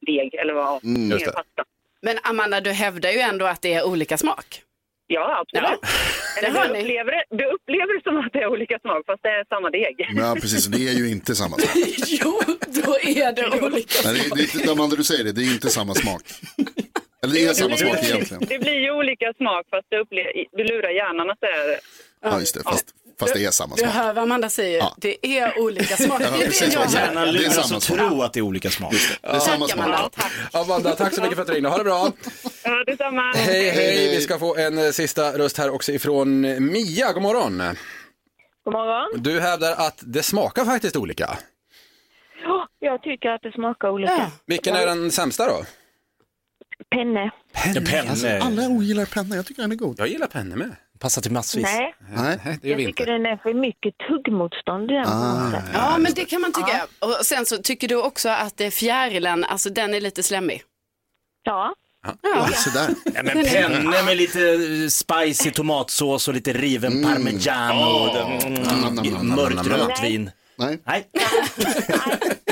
[SPEAKER 12] deg, eller vad,
[SPEAKER 1] just det.
[SPEAKER 12] mer pasta.
[SPEAKER 3] Men Amanda, du hävdar ju ändå att det är olika smak.
[SPEAKER 12] Ja, absolut.
[SPEAKER 3] Det hör
[SPEAKER 12] Eller, du,
[SPEAKER 3] ni.
[SPEAKER 12] upplever, det- du upplever det som att det är olika smak, fast det är samma deg.
[SPEAKER 4] Men Ja, precis. Det är ju inte samma sak.
[SPEAKER 3] Jo, då är det olika.
[SPEAKER 4] Nej, det, är- det, är inte- de andra du säger det, det är inte samma smak. Eller det är samma
[SPEAKER 12] blir-
[SPEAKER 4] smak egentligen.
[SPEAKER 12] Det blir ju olika smak fast du, upple- du lurar hjärnan att det är...
[SPEAKER 4] Ja, just det. Fast, fast det är samma
[SPEAKER 3] Du
[SPEAKER 4] smak.
[SPEAKER 3] hör vad Amanda säger. Det är olika smak. Det
[SPEAKER 4] Jag hör
[SPEAKER 3] är det
[SPEAKER 4] precis
[SPEAKER 3] jag
[SPEAKER 4] vad
[SPEAKER 3] hör.
[SPEAKER 4] Hjärnan
[SPEAKER 2] Hjärnan
[SPEAKER 4] luras
[SPEAKER 2] luras
[SPEAKER 4] och
[SPEAKER 2] att tro att det är olika smak.
[SPEAKER 4] Det är samma
[SPEAKER 3] Tack
[SPEAKER 4] smak.
[SPEAKER 3] Amanda, tack.
[SPEAKER 1] Amanda, tack så mycket för att du ringde. Ha det bra.
[SPEAKER 12] Ja, detsamma.
[SPEAKER 1] Hej, hej. Vi ska få en eh, sista röst här också ifrån eh, Mia. God morgon.
[SPEAKER 13] God morgon.
[SPEAKER 1] Du hävdar att det smakar faktiskt olika.
[SPEAKER 13] Ja, Jag tycker att det smakar olika.
[SPEAKER 1] Vilken är den sämsta då?
[SPEAKER 13] Penne.
[SPEAKER 4] Alltså, alla ogillar penna, jag tycker den är god.
[SPEAKER 1] Jag gillar penne med.
[SPEAKER 10] Passar till massvis.
[SPEAKER 13] Nej,
[SPEAKER 4] Nej.
[SPEAKER 1] Det gör
[SPEAKER 13] jag
[SPEAKER 1] vi
[SPEAKER 13] tycker
[SPEAKER 1] inte.
[SPEAKER 13] den är för mycket tuggmotstånd i den. på något sätt.
[SPEAKER 3] Ja, men det kan man tycka. Och sen så tycker du också att eh, fjärilen, alltså den är lite slemmig.
[SPEAKER 13] Ja.
[SPEAKER 4] Ja, så där.
[SPEAKER 2] Nej, men penne med lite eh, spicy tomatsås och lite riven parmesan och Mm. den-
[SPEAKER 4] nam, nam, nam,
[SPEAKER 2] mm, mörkt
[SPEAKER 4] nam, nam.
[SPEAKER 2] rött vin.
[SPEAKER 4] Nej.
[SPEAKER 2] Nej,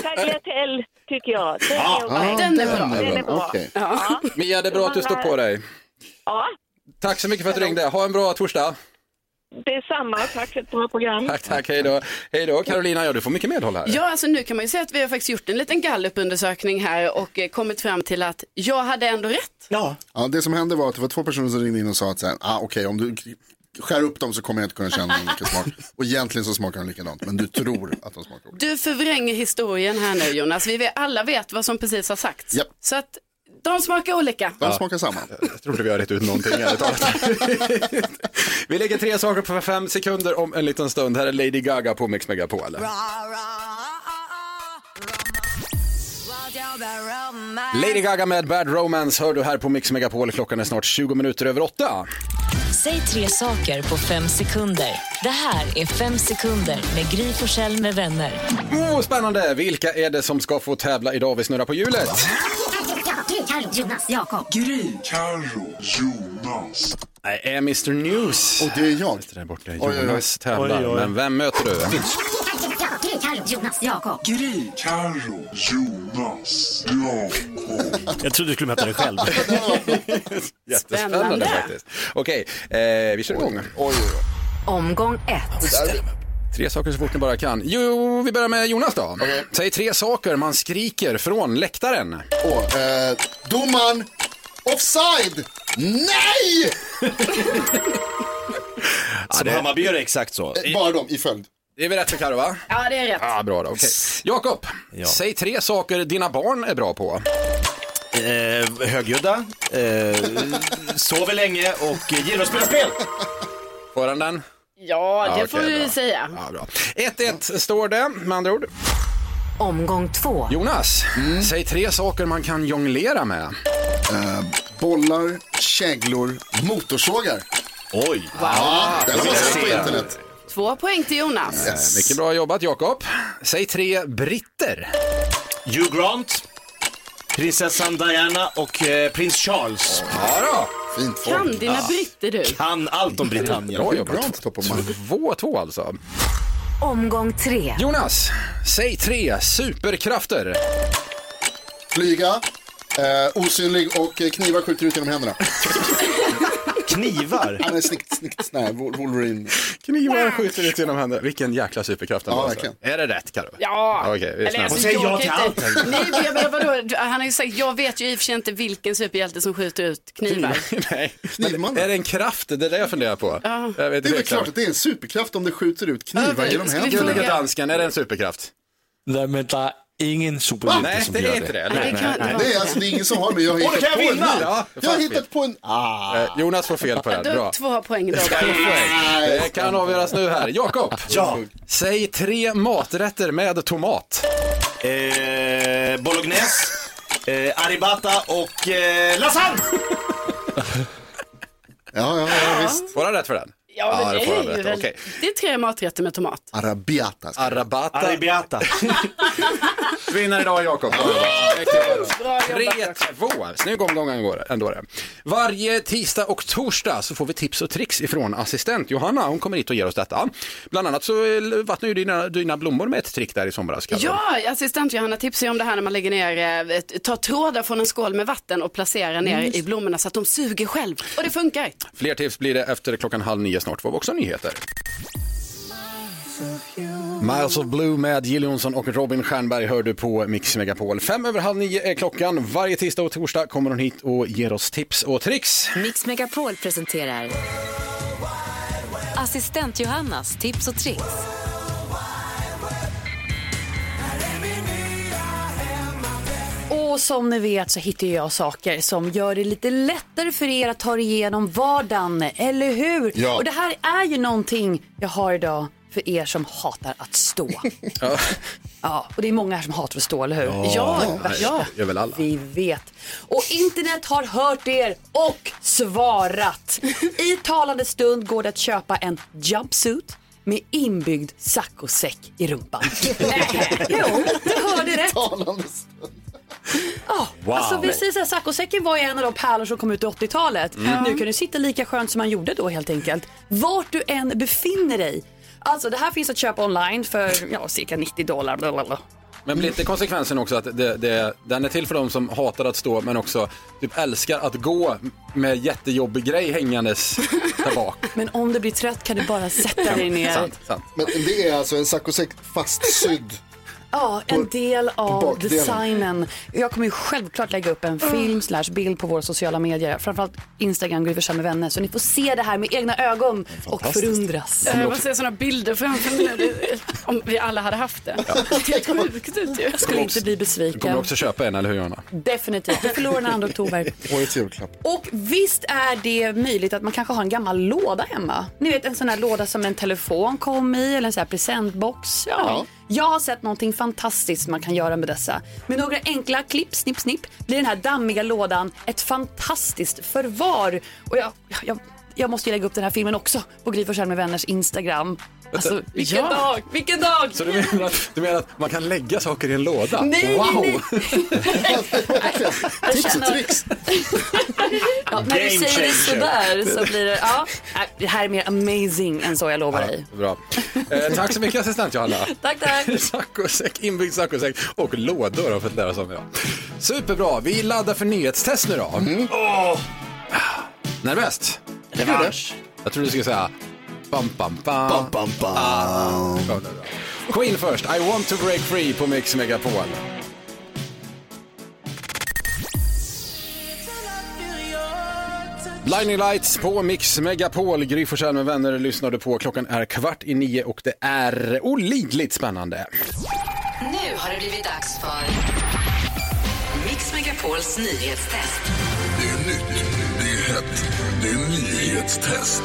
[SPEAKER 13] Tagliatelle tycker jag. Den är okej.
[SPEAKER 3] Den är bra.
[SPEAKER 13] Den är bra.
[SPEAKER 4] Okej.
[SPEAKER 13] Ja.
[SPEAKER 1] Mia, det är bra att du står på dig.
[SPEAKER 13] ja,
[SPEAKER 1] Tack så mycket för att du ringde. Ha en bra torsdag.
[SPEAKER 13] det är samma. Tack för ett bra program.
[SPEAKER 1] Tack, tack. Hej då. Hej då. Carolina, ja, du får mycket medhåll här.
[SPEAKER 3] Ja, alltså nu kan man ju säga att vi har faktiskt gjort en liten gallupundersökning här och eh, kommit fram till att jag hade ändå rätt.
[SPEAKER 2] ja.
[SPEAKER 4] Ja, det som hände var att det var två personer som ringde in och sa att så här, ah, okej, om du skär upp dem så kommer jag inte kunna känna olika smak. Och egentligen så smakar de likadant, men du tror att de smakar olika.
[SPEAKER 3] Du förvränger historien här nu Jonas. Vi vet- alla vet vad som precis har sagts.
[SPEAKER 4] Japp.
[SPEAKER 3] Så att De smakar olika.
[SPEAKER 1] Ja. Jag tror inte vi har rätt ut någonting ärligt talat. Vi lägger tre saker på fem sekunder om en liten stund. Här är Lady Gaga på Mix Megapol. Lady Gaga med Bad Romance hör du här på Mix Megapol. Klockan är snart 20 minuter över åtta.
[SPEAKER 14] Säg tre saker på fem sekunder. Det här är Fem sekunder med Gry Forssell med vänner.
[SPEAKER 1] Oh, spännande! Vilka är det som ska få tävla idag? Vi snurrar på hjulet.
[SPEAKER 6] Carro, Jonas, Jakob.
[SPEAKER 1] Gry. Carro. Jonas. Nej, är Mr News. Och det är jag. Där borta.
[SPEAKER 4] oj, oj.
[SPEAKER 1] Jonas tävlar,
[SPEAKER 4] Oj, oj.
[SPEAKER 1] men vem möter du?
[SPEAKER 6] Gry, Carro, Jonas, Jakob.
[SPEAKER 15] Gry, Carro, Jonas, Jakob.
[SPEAKER 2] Jag trodde du skulle möta dig själv.
[SPEAKER 1] Jättespännande
[SPEAKER 6] Spännande.
[SPEAKER 1] faktiskt. Okej, eh, vi kör igång.
[SPEAKER 14] Omgång ett.
[SPEAKER 1] Tre saker så fort ni bara kan. Jo, vi börjar med Jonas då. Säg tre saker man skriker från läktaren.
[SPEAKER 4] Åh, eh, domaren, offside! Nej!
[SPEAKER 2] Som Hammarby gör det exakt så.
[SPEAKER 4] Bara de i följd.
[SPEAKER 1] Det är väl rätt för Carro va?
[SPEAKER 3] Ja, det är rätt.
[SPEAKER 1] Ja, bra då. Okej. Jakob, säg tre saker dina barn är bra på.
[SPEAKER 2] Eh, högljudda, eh, sover länge och eh, gillar att spela spel.
[SPEAKER 1] Får han den?
[SPEAKER 3] Ja,
[SPEAKER 1] Ja,
[SPEAKER 3] det
[SPEAKER 1] okej,
[SPEAKER 3] får du
[SPEAKER 1] bra.
[SPEAKER 3] säga.
[SPEAKER 1] Ja, bra. 1-1 står det med andra ord.
[SPEAKER 14] Omgång två.
[SPEAKER 1] Jonas, säg tre saker man kan jonglera med.
[SPEAKER 4] bollar, käglor, motorsågar.
[SPEAKER 2] Oj!
[SPEAKER 4] Ja, den har man sett på internet.
[SPEAKER 3] Två poäng till Jonas.
[SPEAKER 1] Eh, Mycket bra jobbat Jakob. Säg tre britter.
[SPEAKER 2] Hugh Grant, prinsessan Diana och eh, prins Charles.
[SPEAKER 1] Ja
[SPEAKER 2] då. Fint
[SPEAKER 3] Kan dina britter du?
[SPEAKER 2] Kan allt om Britannien.
[SPEAKER 1] Bra jobbat.
[SPEAKER 4] Mm.
[SPEAKER 1] 2-2 alltså.
[SPEAKER 14] Omgång tre.
[SPEAKER 1] Jonas, säg tre superkrafter.
[SPEAKER 4] Flyga, eh, osynlig och eh, knivar skjuter ut genom händerna.
[SPEAKER 2] Knivar?
[SPEAKER 4] Han är snikt, snikt, nej, Wol- Wolverine.
[SPEAKER 1] Knivar skjuter ut genom händerna. Vilken jäkla superkraft
[SPEAKER 4] Ja,
[SPEAKER 1] ändå,
[SPEAKER 4] verkligen.
[SPEAKER 1] Är det rätt Karo?
[SPEAKER 3] Ja.
[SPEAKER 1] Okej, vi är snälla.
[SPEAKER 3] alltså, jag kan inte- Nej, men jag menar, vadå? Du- Han har ju sagt, jag vet ju i och för sig inte vilken superhjälte som skjuter ut knivar.
[SPEAKER 1] Nej, men är det en kraft? Det är det jag funderar på.
[SPEAKER 3] Ja.
[SPEAKER 1] Jag vet
[SPEAKER 4] Det är väl
[SPEAKER 1] inte
[SPEAKER 4] klart att det är en superkraft om det skjuter ut
[SPEAKER 1] Ja,
[SPEAKER 4] knivar
[SPEAKER 1] men
[SPEAKER 4] genom
[SPEAKER 1] ska vi
[SPEAKER 4] händerna.
[SPEAKER 1] fråga danskan, är det en superkraft?
[SPEAKER 16] Nej, men det är ingen
[SPEAKER 4] Va?
[SPEAKER 16] superhjälte
[SPEAKER 4] Nej,
[SPEAKER 16] som
[SPEAKER 4] det
[SPEAKER 16] gör
[SPEAKER 4] är inte det. Nej,
[SPEAKER 16] Nej, nej, nej.
[SPEAKER 4] Det är alltså det är ingen som har men jag har
[SPEAKER 16] Åh, då
[SPEAKER 4] hittat
[SPEAKER 16] kan jag
[SPEAKER 4] på en
[SPEAKER 16] vinna!
[SPEAKER 4] nu.
[SPEAKER 16] Ja,
[SPEAKER 4] Jag har
[SPEAKER 16] fast
[SPEAKER 4] hittat på en...
[SPEAKER 1] Eh, Jonas får fel på den.
[SPEAKER 3] Du
[SPEAKER 1] Bra.
[SPEAKER 3] har två poäng då.
[SPEAKER 1] Det kan avgöras nu här. Jakob,
[SPEAKER 2] Ja.
[SPEAKER 1] säg tre maträtter med tomat.
[SPEAKER 2] Eh, Bolognese, eh, arrabbiata och eh, lasagne.
[SPEAKER 4] Ja, ja, ja, visst.
[SPEAKER 1] Får han rätt för den?
[SPEAKER 3] Ja, men
[SPEAKER 1] det får han
[SPEAKER 3] det, är ju
[SPEAKER 1] rätt.
[SPEAKER 3] väl,
[SPEAKER 1] Okej.
[SPEAKER 3] det är tre maträtter med tomat.
[SPEAKER 4] Arabiata.
[SPEAKER 1] Arabata.
[SPEAKER 2] Arabiata.
[SPEAKER 1] Vinner idag Jakob.
[SPEAKER 3] Bra jobbat.
[SPEAKER 1] 3-2. Snygg omgång ändå det- ändå det. Varje tisdag och torsdag så får vi tips och tricks ifrån assistent Johanna. Hon kommer hit och ger oss detta. Bland annat så eh, vattnar ju dina, dina blommor med ett trick där i somras. Kalle.
[SPEAKER 3] Ja, assistent Johanna tipsade ju om det här när man lägger ner, eh, ta trådar från en skål med vatten och placera ner
[SPEAKER 14] Mm.
[SPEAKER 3] i blommorna så att de suger själv. Och det funkar.
[SPEAKER 1] Fler tips blir det efter klockan halv nio snart. Får vi också nyheter. Miles of Blue med Jill Johnson och Robin Stjernberg hör du på Mix Megapol. Fem över halv nio är klockan. Varje tisdag och torsdag kommer hon hit och ger oss tips och tricks.
[SPEAKER 14] Mix Megapol presenterar Assistent Johannas tips och tricks.
[SPEAKER 5] Och som ni vet så hittar jag saker som gör det lite lättare för er att ta er igenom vardagen, eller hur?
[SPEAKER 6] Ja.
[SPEAKER 5] Och det här är ju någonting jag har idag för er som hatar att stå.
[SPEAKER 1] Ja.
[SPEAKER 5] ja, och det är många här som hatar att stå, eller hur?
[SPEAKER 1] ja. Det gör väl alla.
[SPEAKER 5] Vi vet. Och internet har hört er och svarat. I talande stund går det att köpa en jumpsuit med inbyggd saccosäck i rumpan. Nej, jo, du hörde rätt.
[SPEAKER 6] Wow.
[SPEAKER 5] Alltså vi säger så här, saccosäcken var ju en av de pärlor som kom ut i 80-talet.
[SPEAKER 6] Mm.
[SPEAKER 5] Nu kan du sitta lika skönt som man gjorde då helt enkelt. Vart du än befinner dig. Alltså det här finns att köpa online för ja, cirka 90 dollar. Blablabla.
[SPEAKER 1] Men blir inte konsekvensen också att det, det, den är till för de som hatar att stå men också typ älskar att gå med jättejobbig grej hängandes där bak?
[SPEAKER 5] Men om du blir trött kan du bara sätta dig ner.
[SPEAKER 1] Sant, sant.
[SPEAKER 4] Men det är alltså en saccosäck fastsydd
[SPEAKER 5] Ja, en del av
[SPEAKER 6] bakdelen.
[SPEAKER 5] designen. Jag kommer ju självklart lägga upp en film slash bild på våra sociala medier. Framförallt Instagram, Gry Forssell med vänner. Så ni får se det här med egna ögon och
[SPEAKER 3] Fantastiskt.
[SPEAKER 5] förundras.
[SPEAKER 3] Eh, Man ser sådana bilder framför mig nu. Det- Om vi alla hade haft det. Det ser helt sjukt ut ju.
[SPEAKER 5] Jag skulle inte bli
[SPEAKER 1] Du kommer
[SPEAKER 5] besviken.
[SPEAKER 1] också köpa en, eller hur Johanna?
[SPEAKER 5] Definitivt. Du förlorar den 2 oktober.
[SPEAKER 4] Årets julklapp.
[SPEAKER 5] Och visst är det möjligt att man kanske har en gammal låda hemma. Ni vet en sån här låda som en telefon kom i eller en sån här presentbox. Ja. Jag har sett någonting fantastiskt man kan göra med dessa. Med några enkla klipp, snipp, snipp blir den här dammiga lådan ett fantastiskt förvar. Och jag, jag, jag måste ju lägga upp den här filmen också på Gry Forssell med vänners Instagram. Alltså, vilken dag! Vilken dag!
[SPEAKER 1] Så du menar, att, du menar att man kan lägga saker i en låda?
[SPEAKER 5] Nej,
[SPEAKER 1] wow!
[SPEAKER 5] nej, Jag
[SPEAKER 6] Tips och
[SPEAKER 5] känner- ja, när du
[SPEAKER 6] Game
[SPEAKER 5] säger
[SPEAKER 1] changer.
[SPEAKER 5] det sådär så blir det, ja. Nej, Det här är mer amazing än så, jag lovar dig.
[SPEAKER 1] Bra. Eh, tack så mycket assistent Johanna.
[SPEAKER 5] Tack, tack.
[SPEAKER 1] saccosäck, inbyggd saccosäck och lådor har fått lära sig om idag. Superbra, vi laddar för nyhetstest nu då.
[SPEAKER 5] Mm.
[SPEAKER 1] Åh! Nervöst? Revansch. Jag tror du skulle säga bam, bam, bam. bam, bam, bam. Ah, bra, bra, bra. Queen först, I want to break free på Mix Megapol. Blinding Lights på Mix Megapol. Gry Forssell med vänner lyssnar du på. Klockan är kvart i nio och det är olidligt spännande.
[SPEAKER 6] Nu har det blivit dags för Mix Megapols nyhetstest.
[SPEAKER 15] Det är nytt, det är hett, det är nyhetstest.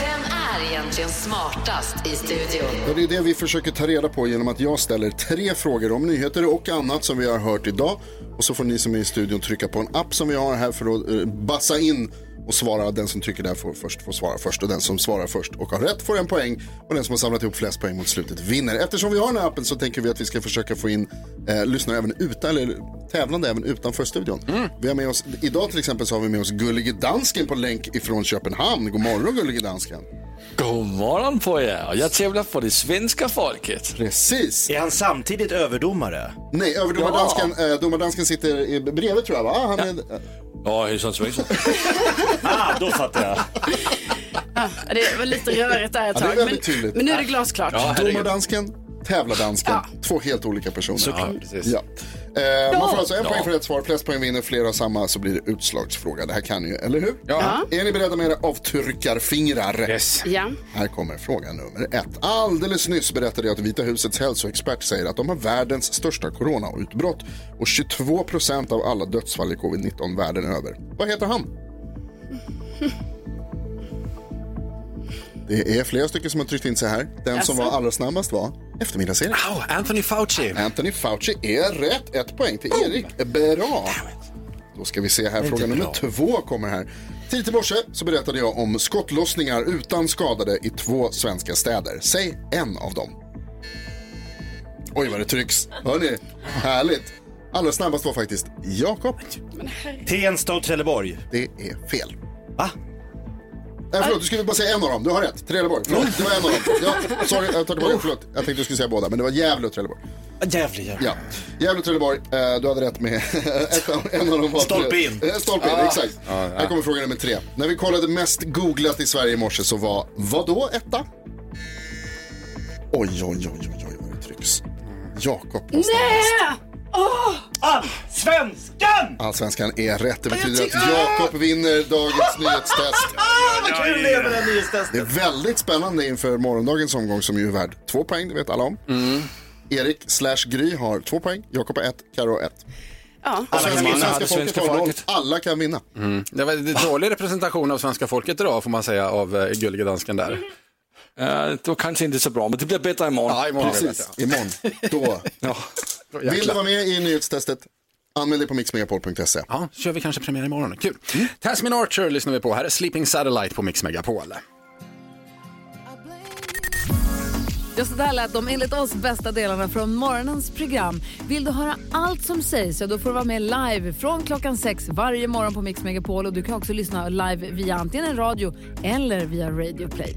[SPEAKER 6] Vem är egentligen smartast i studion?
[SPEAKER 4] Ja, det är det vi försöker ta reda på genom att jag ställer tre frågor om nyheter och annat som vi har hört idag. Och så får ni som är i studion trycka på en app som vi har här för att eh, bassa in och svara. Den som tycker det här får först får svara först och den som svarar först och har rätt får en poäng och den som har samlat ihop flest poäng mot slutet vinner. Eftersom vi har den här appen så tänker vi att vi ska försöka få in eh, lyssnare även utan, eller tävlande även utanför studion. Vi har med oss, idag till exempel så har vi med oss Gullige Dansken på länk ifrån Köpenhamn. God morgon Gullige Dansken.
[SPEAKER 16] God morgon på er och jag tävlar för det svenska folket.
[SPEAKER 4] Precis.
[SPEAKER 16] Är han samtidigt överdomare?
[SPEAKER 4] Nej, överdomardansken ja. domardansken sitter i- bredvid tror jag va? Han är,
[SPEAKER 16] Ja, hejsan svejsan. ah, då fattar jag.
[SPEAKER 3] Ja, det var lite rörigt där ett
[SPEAKER 4] Ja, det är
[SPEAKER 3] tag.
[SPEAKER 4] väldigt
[SPEAKER 3] men,
[SPEAKER 4] tydligt.
[SPEAKER 3] men nu är det glasklart.
[SPEAKER 4] Domardansken, tävlardansken, två helt olika personer.
[SPEAKER 1] Såklart.
[SPEAKER 4] Ja,
[SPEAKER 1] precis.
[SPEAKER 4] Ja. Eh, man får alltså en
[SPEAKER 1] Ja.
[SPEAKER 4] poäng för ett svar, flest poäng vinner, flera av samma så blir det utslagsfråga. Det här kan ni ju, eller hur?
[SPEAKER 3] Ja.
[SPEAKER 4] Är ni beredda med era avtryckarfingrar? Yes.
[SPEAKER 3] Ja.
[SPEAKER 4] Här kommer fråga nummer ett. Alldeles nyss berättade jag att Vita husets hälsoexpert säger att de har världens största coronautbrott och 22 procent av alla dödsfall i covid-19 världen över. Vad heter han? Det är flera stycken som har tryckt in sig här. Den som
[SPEAKER 1] Jaså?
[SPEAKER 4] var allra snabbast var eftermiddagsserien.
[SPEAKER 1] Anthony Fauci.
[SPEAKER 4] Anthony Fauci är rätt. Ett poäng till Erik. Bra. Då ska vi se här.
[SPEAKER 1] Det är
[SPEAKER 4] Fråga
[SPEAKER 1] inte
[SPEAKER 4] nummer två kommer här. Tidigt i morse så berättade jag om skottlossningar utan skadade i två svenska städer. Säg en av dem. Oj, vad det trycks. Hör ni? Härligt. Allra snabbast var faktiskt Jakob.
[SPEAKER 2] Tensta och Trelleborg.
[SPEAKER 4] Det är fel. Va? Nej, förlåt, du skulle bara säga en av dem. Du har rätt. Trelleborg. Förlåt, det var en av dem. Ja, sorry, jag tar tillbaka. Förlåt, jag tänkte du skulle säga båda, men det var Gävle och Trelleborg.
[SPEAKER 2] Ah, Jävlar, jävlar.
[SPEAKER 4] Ja. Gävle och Trelleborg, eh, du hade rätt med ett av- en av dem. var-
[SPEAKER 2] Stolpe in.
[SPEAKER 4] Eh, Stolpe in,
[SPEAKER 2] Ah.
[SPEAKER 4] exakt.
[SPEAKER 2] Ah, ja.
[SPEAKER 4] Här kommer fråga nummer tre. När vi kollade mest googlat i Sverige i morse så var vad då etta? Oj, oj, oj, oj, oj, vad det trycks. Jakob.
[SPEAKER 6] Nej!
[SPEAKER 2] Åh! Allsvenskan!
[SPEAKER 4] Allsvenskan är rätt. Det
[SPEAKER 6] jag
[SPEAKER 4] betyder
[SPEAKER 6] tycker-
[SPEAKER 4] att Jakob vinner dagens nyhetstest.
[SPEAKER 2] Ah, Vad kul det är med det här nyhetstestet.
[SPEAKER 4] Det är väldigt spännande inför morgondagens omgång som ju är värd två poäng, det vet alla om.
[SPEAKER 2] Mm.
[SPEAKER 4] Erik slash Gry har två poäng, Jakob har ett, Karo har ett.
[SPEAKER 3] Ja.
[SPEAKER 4] Och svenska,
[SPEAKER 1] vinna,
[SPEAKER 4] svenska
[SPEAKER 1] det
[SPEAKER 4] folket
[SPEAKER 1] svenska
[SPEAKER 4] har noll.
[SPEAKER 1] folket.
[SPEAKER 4] Alla kan vinna.
[SPEAKER 1] Mm. Det var en dålig representation av svenska folket idag får man säga av eh, gullige dansken där.
[SPEAKER 16] Ja, det var kanske inte så bra, men det blir bättre imorgon.
[SPEAKER 1] Ja, imorgon blir det
[SPEAKER 4] Precis, imorgon. Då. Vill du vara med i nyhetstestet? Anmäl dig på mixmegapol.se.
[SPEAKER 1] Ja, kör vi kanske premiär imorgon. Kul. Tasmin Archer lyssnar vi på. Här är Sleeping Satellite på Mix Megapol.
[SPEAKER 17] Ja, så där lät de enligt oss bästa delarna från morgonens program. Vill du höra allt som sägs så då får du vara med live från klockan sex varje morgon på Mix Megapol. Och du kan också lyssna live via antingen en radio eller via Radio Play.